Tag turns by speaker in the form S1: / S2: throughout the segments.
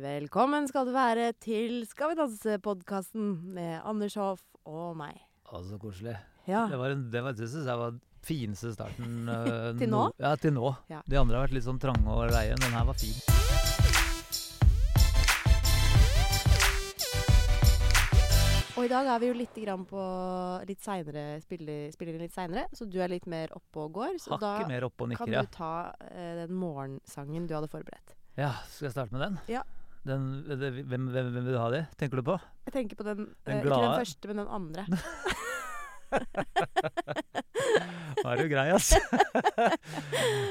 S1: Velkommen skal du være til Skal vi danse-podkasten med Anders Hoff og meg.
S2: Å, så Altså, koselig.
S1: Ja,
S2: Det var, en, det var, det synes jeg var den fineste starten. eh,
S1: Til
S2: no-
S1: nå?
S2: Ja, til nå.
S1: Ja.
S2: De andre har vært litt sånn trange og leie. men Den her var fin.
S1: Og i dag er vi jo litt, grann på litt seinere, spiller, spiller inn litt seinere, så du er litt mer oppe og går. Så
S2: Hakket mer oppe og
S1: da kan
S2: nikker, ja.
S1: du ta eh, den morgensangen du hadde forberedt.
S2: ja. Skal jeg starte med den?
S1: Ja.
S2: den det, hvem, hvem, hvem vil ha det, tenker du på?
S1: Jeg tenker på den,
S2: Den
S1: eh, ikke den
S2: glade.
S1: første, men den andre. Altså,
S2: Nå er du grei, ass.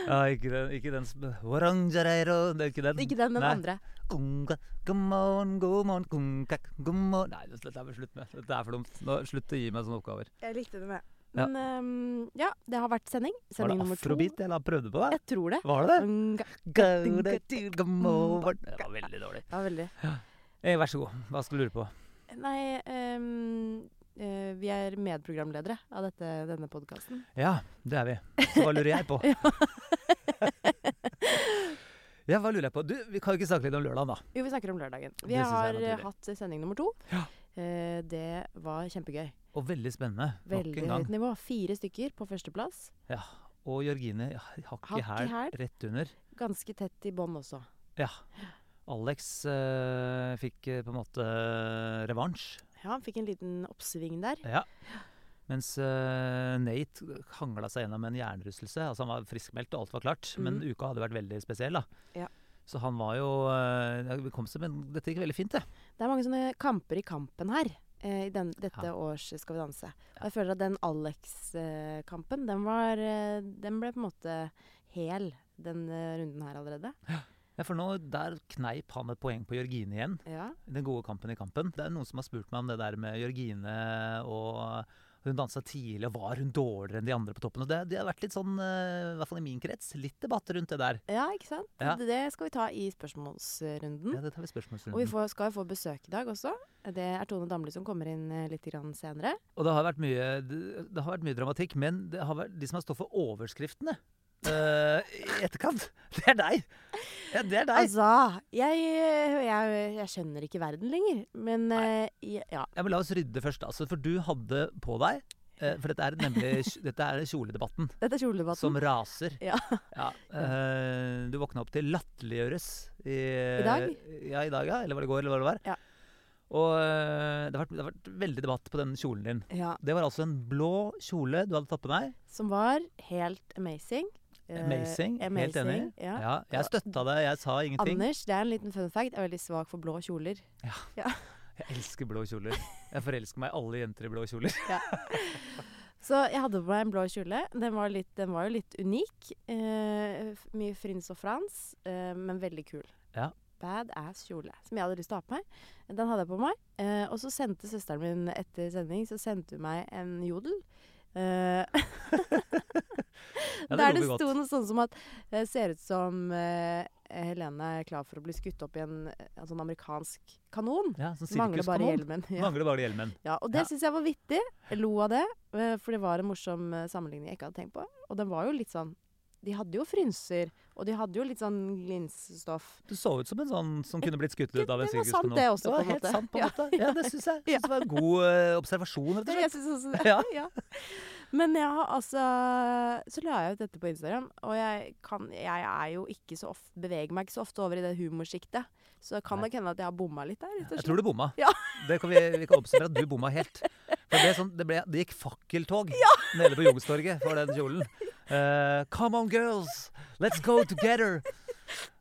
S2: ja, ikke den, ikke den som Warangereiro, det er ikke den.
S1: Ikke den, men den
S2: Nei.
S1: andre.
S2: Kunga, God morgen, god morgen, kunga, god morgen. Nei, dette er vi slutt med. Dette er for dumt. Nå, slutt å gi meg sånne oppgaver.
S1: Jeg likte den, jeg.
S2: Ja.
S1: Men ehm, ja, det har vært sending.
S2: Var
S1: Sending
S2: det
S1: nummer to.
S2: afrobeat jeg la prøvde på deg?
S1: Jeg tror det. Mm,
S2: Var det det?
S1: Unga-
S2: Go the deal, god morgen. Det var veldig dårlig.
S1: Ja, veldig.
S2: Eh, vær så god. Hva skal du lure på?
S1: Nei, ehm, eh, vi er medprogramledere av dette, denne podkasten.
S2: Ja, det er vi. Så hva lurer jeg på? ja, hva lurer jeg på? Du, vi kan jo ikke snakke litt om lørdagen, da.
S1: Jo, vi snakker om lørdagen.
S2: Det
S1: Vi
S2: synes jeg er
S1: har eh,
S2: naturlig.
S1: hatt sending nummer to.
S2: Ja.
S1: Eh, det var kjempegøy.
S2: Og veldig spennende. nok en
S1: Veldig
S2: gang.
S1: høyt nivå. Fire stykker på førsteplass.
S2: Og Jørgine ja, hakk i
S1: Hakk i
S2: hæl
S1: hæl.
S2: rett under.
S1: Ganske tett i bånn også.
S2: Ja. Alex eh, fikk eh, på en måte eh, revansj.
S1: Ja, han fikk en liten oppsving der.
S2: Ja. Mens eh, Nate hangla seg gjennom en hjernerystelse. Altså han var friskmeldt, og alt var klart. Men
S1: Mhm.
S2: uka hadde vært veldig spesiell, da.
S1: Ja.
S2: Så han var jo eh, Det kom seg, men dette gikk veldig fint, det.
S1: Det er mange sånne kamper i kampen her. eh, I den, dette
S2: Ja.
S1: års Skal vi danse. Og jeg føler at den Alex-kampen, den var eh, Den ble på en måte hel, den eh, runden her allerede.
S2: Ja, for nå, Der kneip han et poeng på Jørgine igjen.
S1: Ja.
S2: Den gode kampen i kampen. Det er noen som har spurt meg om det der med Jørgine og hun dansa tidlig, og var hun dårligere enn de andre på toppen? Og det, det har vært litt sånn, eh, i hvert fall i min krets, litt debatt rundt det der.
S1: ja, ikke sant?
S2: Ja.
S1: Det skal vi ta i spørsmålsrunden.
S2: Ja, mm. det tar vi spørsmålsrunden.
S1: Mm. Og vi får, skal jo få besøk i dag også. Det er Tone Damli som kommer inn eh, litt grann senere.
S2: Og det har vært mye, det, det har vært mye dramatikk, men det har vært, de som har stått for overskriftene eh, i etterkant, det er deg! Ja, det er deg!
S1: Altså, jeg, eh, jeg, jeg skjønner ikke verden lenger. Men eh, jeg- ja.
S2: ja, men la oss rydde først, altså, for du hadde på deg eh, For dette er nemlig dette er kjoledebatten
S1: Dette er
S2: som
S1: kjoledebatten.
S2: raser.
S1: Ja.
S2: Ja, eh, du våkna opp til latterliggjøres i,
S1: I dag?
S2: Ja, i dag, ja. Eller var det i går, eller hva det var.
S1: Ja.
S2: Og eh, det har, vært, det har vært veldig debatt på den kjolen din.
S1: Ja,
S2: Det var altså en blå kjole du hadde tatt på deg.
S1: som var helt amazing. Eh,
S2: Amazing. Helt enig.
S1: Ja.
S2: Ja, jeg støtta deg, jeg sa ingenting.
S1: Anders, det er en liten fun fact, jeg er veldig svak for blå kjoler.
S2: Jeg elsker blå kjoler. Jeg forelsker meg i alle jenter i blå kjoler.
S1: Så jeg hadde på meg en blå kjole. Den var, litt, den var jo litt unik. Eh, f- mye frins og frans, eh, men veldig kul.
S2: Ja.
S1: Badass kjole, som jeg hadde lyst til å ha på meg. Den hadde jeg på meg. Eh, og så sendte søsteren min etter sending så sendte hun meg en jodel. Eh,
S2: Ja,
S1: der
S2: lo
S1: det
S2: vi godt.
S1: sto noe sånt som at det ser ut som eh, Helene er klar for å bli skutt opp i en, en sånn amerikansk kanon.
S2: ja, sånn
S1: Mangler bare
S2: sirkuskanon.
S1: hjelmen. Ja.
S2: Mangler bare hjelmen.
S1: Ja, og det
S2: Ja.
S1: synes syns jeg var vittig. Jeg lo av det, eh, for det var en morsom eh, sammenligning jeg ikke hadde tenkt på. Og den var jo litt sånn De hadde jo frynser, og de hadde jo litt sånn glinsestoff.
S2: Du så ut som en sånn som kunne blitt skutt ut av
S1: Det
S2: en
S1: var
S2: sirkuskanon.
S1: sant det også, på
S2: var
S1: en
S2: helt
S1: måte.
S2: sant på en
S1: Ja.
S2: måte. Ja, det syns jeg.
S1: Ja.
S2: Synes det var en god eh, observasjon, rett og slett.
S1: Jeg synes også det.
S2: Ja.
S1: Ja. Men jeg har altså Så la jeg ut dette på Instagram, og jeg, kan, jeg er jo ikke så ofte Beveger meg ikke så ofte over i det humorsjiktet. Så det kan
S2: Nei.
S1: nok hende at jeg har bomma litt der. rett og
S2: Jeg
S1: slett.
S2: tror du bomma.
S1: Ja.
S2: Det kan vi, vi kan oppsummere at du bomma helt. For det, er sånn, det, ble, det gikk fakkeltog nede på Youngstorget for den kjolen. Eh, come on, girls! Let's go together!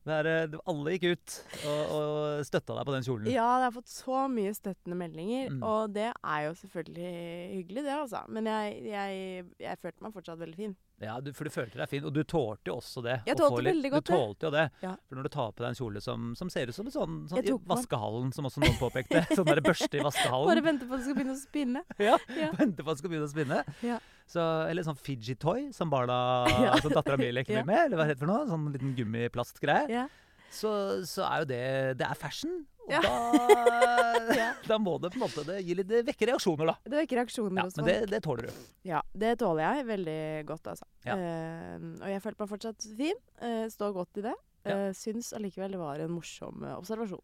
S2: Det er, eh, det- alle gikk ut og, og støtta deg på den kjolen.
S1: Ja, jeg har fått så mye støttende meldinger,
S2: Mm.
S1: og det er jo selvfølgelig hyggelig, det, altså. Men jeg, jeg, jeg følte meg fortsatt veldig fin.
S2: Ja, du, for du følte deg fin, og du tålte jo også det.
S1: Jeg
S2: å få
S1: tålte
S2: litt-
S1: veldig godt
S2: Du
S1: det.
S2: tålte jo det.
S1: Ja.
S2: For når du tar på deg en kjole som, som ser ut som en sånn, sånn
S1: Jeg
S2: i
S1: tok på den.
S2: vaskehallen, som også noen påpekte. Sånn der børste i vaskehallen.
S1: Bare vente på at det skal begynne å spinne.
S2: Ja,
S1: Ja.
S2: Vente på at han skal begynne å spinne.
S1: Ja.
S2: Så, eller sånn fidget toy som barna
S1: Ja.
S2: som dattera mi leker
S1: Ja.
S2: mye med. Eller hva det heter for noe. Sånn liten gummiplastgreie.
S1: Ja.
S2: Så, så er jo det Det er fashion. Og
S1: Ja.
S2: da,
S1: Ja.
S2: da må det på en måte det, gi litt, det vekker reaksjoner, da.
S1: Det vekker reaksjoner
S2: Ja,
S1: hos
S2: men
S1: folk.
S2: det, det tåler du.
S1: Ja, det tåler jeg veldig godt, altså.
S2: Ja.
S1: Eh, og jeg følte meg fortsatt fin. eh, står godt i det.
S2: Ja.
S1: Eh, syns allikevel det var en morsom eh, observasjon.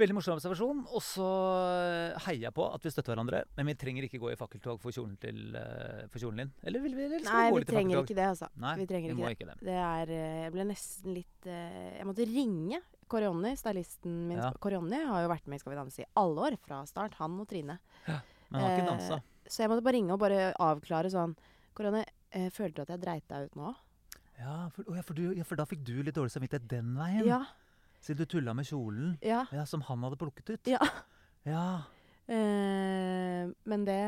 S2: Veldig morsom observasjon. Og så eh, heier jeg på at vi støtter hverandre. Men vi trenger ikke gå i fakkeltog for kjolen, til, eh, for kjolen din. Eller vil vi eller skal
S1: Nei,
S2: vi gå
S1: vi
S2: litt i
S1: trenger
S2: fakkeltog?
S1: ikke det, altså.
S2: Nei,
S1: vi trenger ikke
S2: må
S1: det.
S2: ikke det.
S1: Det er eh, Jeg ble nesten litt eh, Jeg måtte ringe Kåre Jonny, stylisten min.
S2: Ja.
S1: Kåre Jonny har jo vært med i Skal vi danse i alle år, fra start. Han og Trine.
S2: Men han har ikke
S1: Eh,
S2: dansa.
S1: Så jeg måtte bare ringe og bare avklare sånn Kåre Jonny, eh, føler du at jeg dreit deg ut nå?
S2: Ja for, å ja, for du, ja, for da fikk du litt dårlig samvittighet den veien?
S1: Ja.
S2: Siden du tulla med kjolen
S1: Ja.
S2: ja, som han hadde plukket ut?
S1: Ja.
S2: Ja,
S1: Eh, men det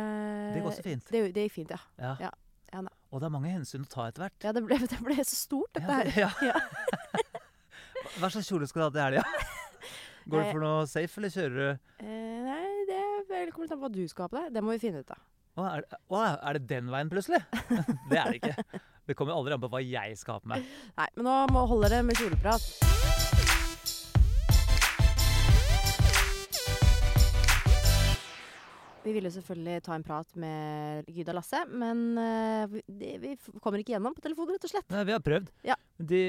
S2: Det går så fint.
S1: Eh, Det, det gikk fint, ja.
S2: Ja.
S1: Ja, ja da.
S2: Og det er mange hensyn å ta etter hvert.
S1: ja det, ble, det ble så stort, dette
S2: Ja,
S1: her.
S2: det- ja. Hva slags kjole skal du ha til helga? Går du
S1: Nei.
S2: for noe safe, eller kjører du
S1: Eh, nei, det er vel kommer litt an på hva du skal ha på deg. Det må vi finne ut av.
S2: Å, er, det- å, er det den veien plutselig? det er det ikke. Det kommer aldri an på hva jeg skal ha på meg.
S1: Nei, men nå må holde det med kjoleprat. Vi ville jo selvfølgelig ta en prat med Gyda Lasse, men eh, vi, det, vi f- kommer ikke gjennom på telefonen, rett og slett.
S2: Nei, vi har prøvd.
S1: Ja.
S2: De,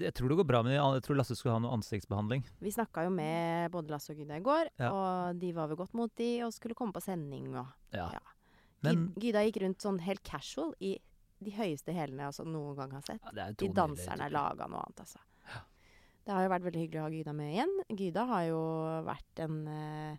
S2: de, jeg tror det går bra, men jeg jeg tror Lasse skulle ha noe ansiktsbehandling.
S1: Vi snakka jo med både Lasse og Gyda i går,
S2: Ja.
S1: og de var ved godt mot, de, og skulle komme på sending og
S2: Ja.
S1: Ja.
S2: Men
S1: Gy- Gyda gikk rundt sånn helt casual i de høyeste hælene jeg også noen gang har sett.
S2: ja, det er
S1: De
S2: to
S1: danserne
S2: nydelige
S1: er laga noe annet, altså. Det har jo vært veldig hyggelig å ha Gyda med igjen. Gyda har jo vært en eh,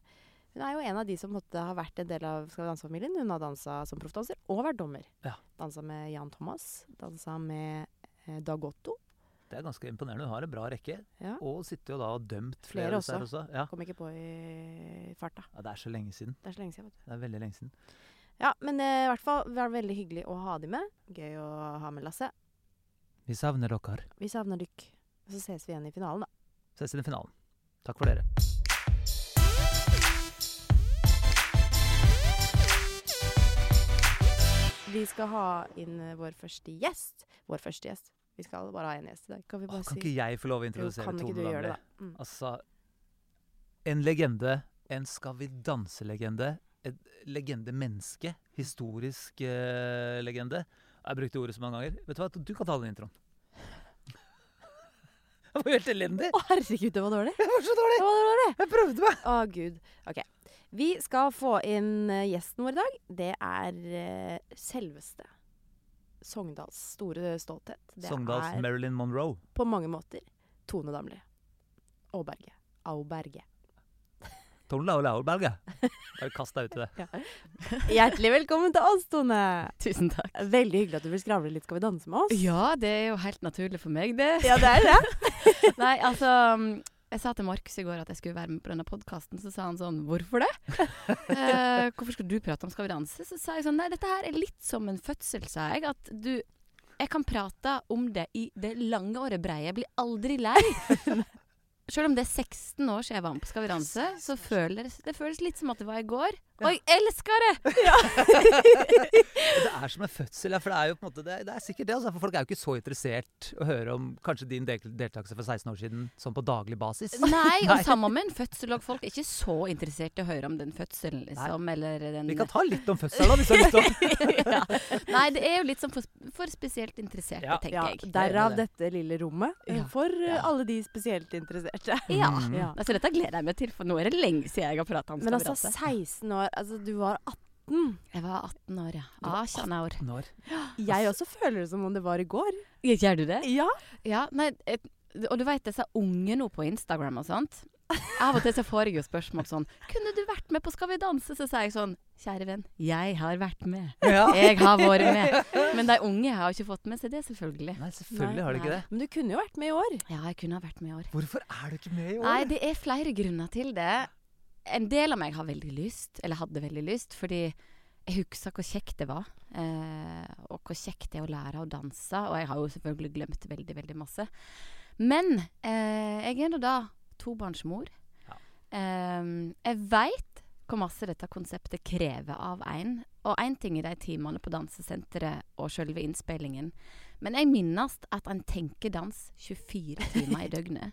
S1: Hun er jo en av de som måtte ha vært en del av Skal vi danse-familien. Hun har dansa som proffdanser og vært dommer.
S2: Ja.
S1: Dansa med Jan Thomas. Dansa med eh, Dag Otto.
S2: typer. Det er ganske imponerende. Hun har en bra rekke.
S1: Ja.
S2: Og sitter jo da og dømt flere,
S1: Flere
S2: av disse her også. Ja.
S1: Kom ikke på i farta.
S2: ja, det er så lenge siden.
S1: Det er så lenge siden. vet du.
S2: Det er veldig lenge siden.
S1: Ja, men eh, i hvert fall det var veldig hyggelig å ha de med. Gøy å ha med Lasse.
S2: Vi savner dere.
S1: Vi savner dykk. Så ses vi igjen i finalen, da.
S2: Ses i den finalen. Takk for dere.
S1: Vi skal ha inn eh, vår første gjest. Vår første gjest. Vi skal bare ha én gjest i dag. Kan vi
S2: Å,
S1: bare
S2: kan
S1: si
S2: ikke jeg få lov å
S1: Jo,
S2: introdusere
S1: kan ikke du
S2: Tone
S1: gjøre
S2: Damli?
S1: det, da? Mm.
S2: Altså En legende. En Skal vi danse-legende. Et legende-menneske. Historisk eh, legende. Jeg brukte ordet så mange ganger. Vet Du hva, du kan ta den introen. Det var jo helt elendig!
S1: Å, herregud, det var dårlig!
S2: Jeg var så dårlig!
S1: Det var dårlig!
S2: Jeg prøvde meg!
S1: Å, gud. OK. Vi skal få inn eh, gjesten vår i dag. Det er eh, selveste Sogndals store stolthet. Det
S2: Sogndals
S1: er
S2: Marilyn Monroe.
S1: på mange måter Tone Damli. Aaberge. Auberge.
S2: Tone Lau Lauerberg, jeg. Bare kast deg ut i det.
S1: Hjertelig velkommen til oss, Tone!
S3: Tusen takk.
S1: Veldig hyggelig at du vil skravle litt. Skal vi danse med oss?
S3: Ja, det er jo helt naturlig for meg, det.
S1: Ja, det er det.
S3: Nei, altså mm, Jeg sa til Markus i går at jeg skulle være med på denne podkasten, så sa han sånn Hvorfor det? Eh, hvorfor skal du prate om Skal vi danse? Så sa jeg sånn Nei, dette her er litt som en fødsel, sa jeg. At du Jeg kan prate om det i det lange og det breie. Jeg blir aldri lei. Selv om det er 16 år siden jeg var med på Skal vi danse, så føles det føles litt som at det var i går. Og jeg elsker det!
S2: Det er som en fødsel, ja, for det er jo på en måte Det, det er sikkert det, altså. For folk er jo ikke så interessert å høre om kanskje din del deltakelse for 16 år siden sånn på daglig basis.
S3: Nei,
S2: Nei.
S3: og sammen med en fødsel og folk er ikke så interessert i å høre om den fødselen, liksom. Eller den
S2: Vi kan ta litt om fødselen, da, hvis du har lyst til.
S3: ja. Nei, det er jo litt sånn for, for spesielt interesserte,
S2: Ja.
S3: tenker
S1: Ja,
S3: jeg.
S1: derav
S2: Det
S1: dette lille rommet eh,
S3: Ja.
S1: for eh,
S2: Ja.
S1: alle de spesielt interesserte.
S3: Ja.
S2: Mm.
S1: Ja.
S3: Altså, dette gleder jeg meg til, for nå er det lenge siden jeg har prata om
S1: Men altså,
S3: skabrate.
S1: 16 år Altså, du var 18.
S3: Jeg var 18 år, ja.
S2: Du var
S3: 18 år.
S2: Når?
S1: Jeg også føler det som om det var i går.
S3: Gjør du det?
S1: Ja.
S3: Ja, nei, et, og du veit disse unge nå på Instagram og sånt. Av og til så får jeg jo spørsmål sånn 'Kunne du vært med på Skal vi danse?' Så sier jeg sånn 'Kjære venn, jeg har vært med.
S2: Ja.
S3: Jeg har vært med.' Men de unge har jo ikke fått med seg det, selvfølgelig.
S2: Nei, selvfølgelig har du ikke
S3: Nei,
S2: det.
S1: Men du kunne jo vært med i år.
S3: Ja, jeg kunne ha vært med i år.
S2: Hvorfor er du ikke med i år?
S3: Nei, det er flere grunner til det. En del av meg har veldig lyst, eller hadde veldig lyst, fordi jeg husker hvor kjekt det var. Eh, og hvor kjekt det er å lære å danse. Og jeg har jo selvfølgelig glemt veldig, veldig masse. Men eh, jeg er nå da tobarnsmor.
S2: Ja.
S3: Eh, jeg veit hvor masse dette konseptet krever av en. Og én ting er de timene på dansesenteret og selve innspillingen. Men jeg minnes at en tenker dans 24 timer i døgnet.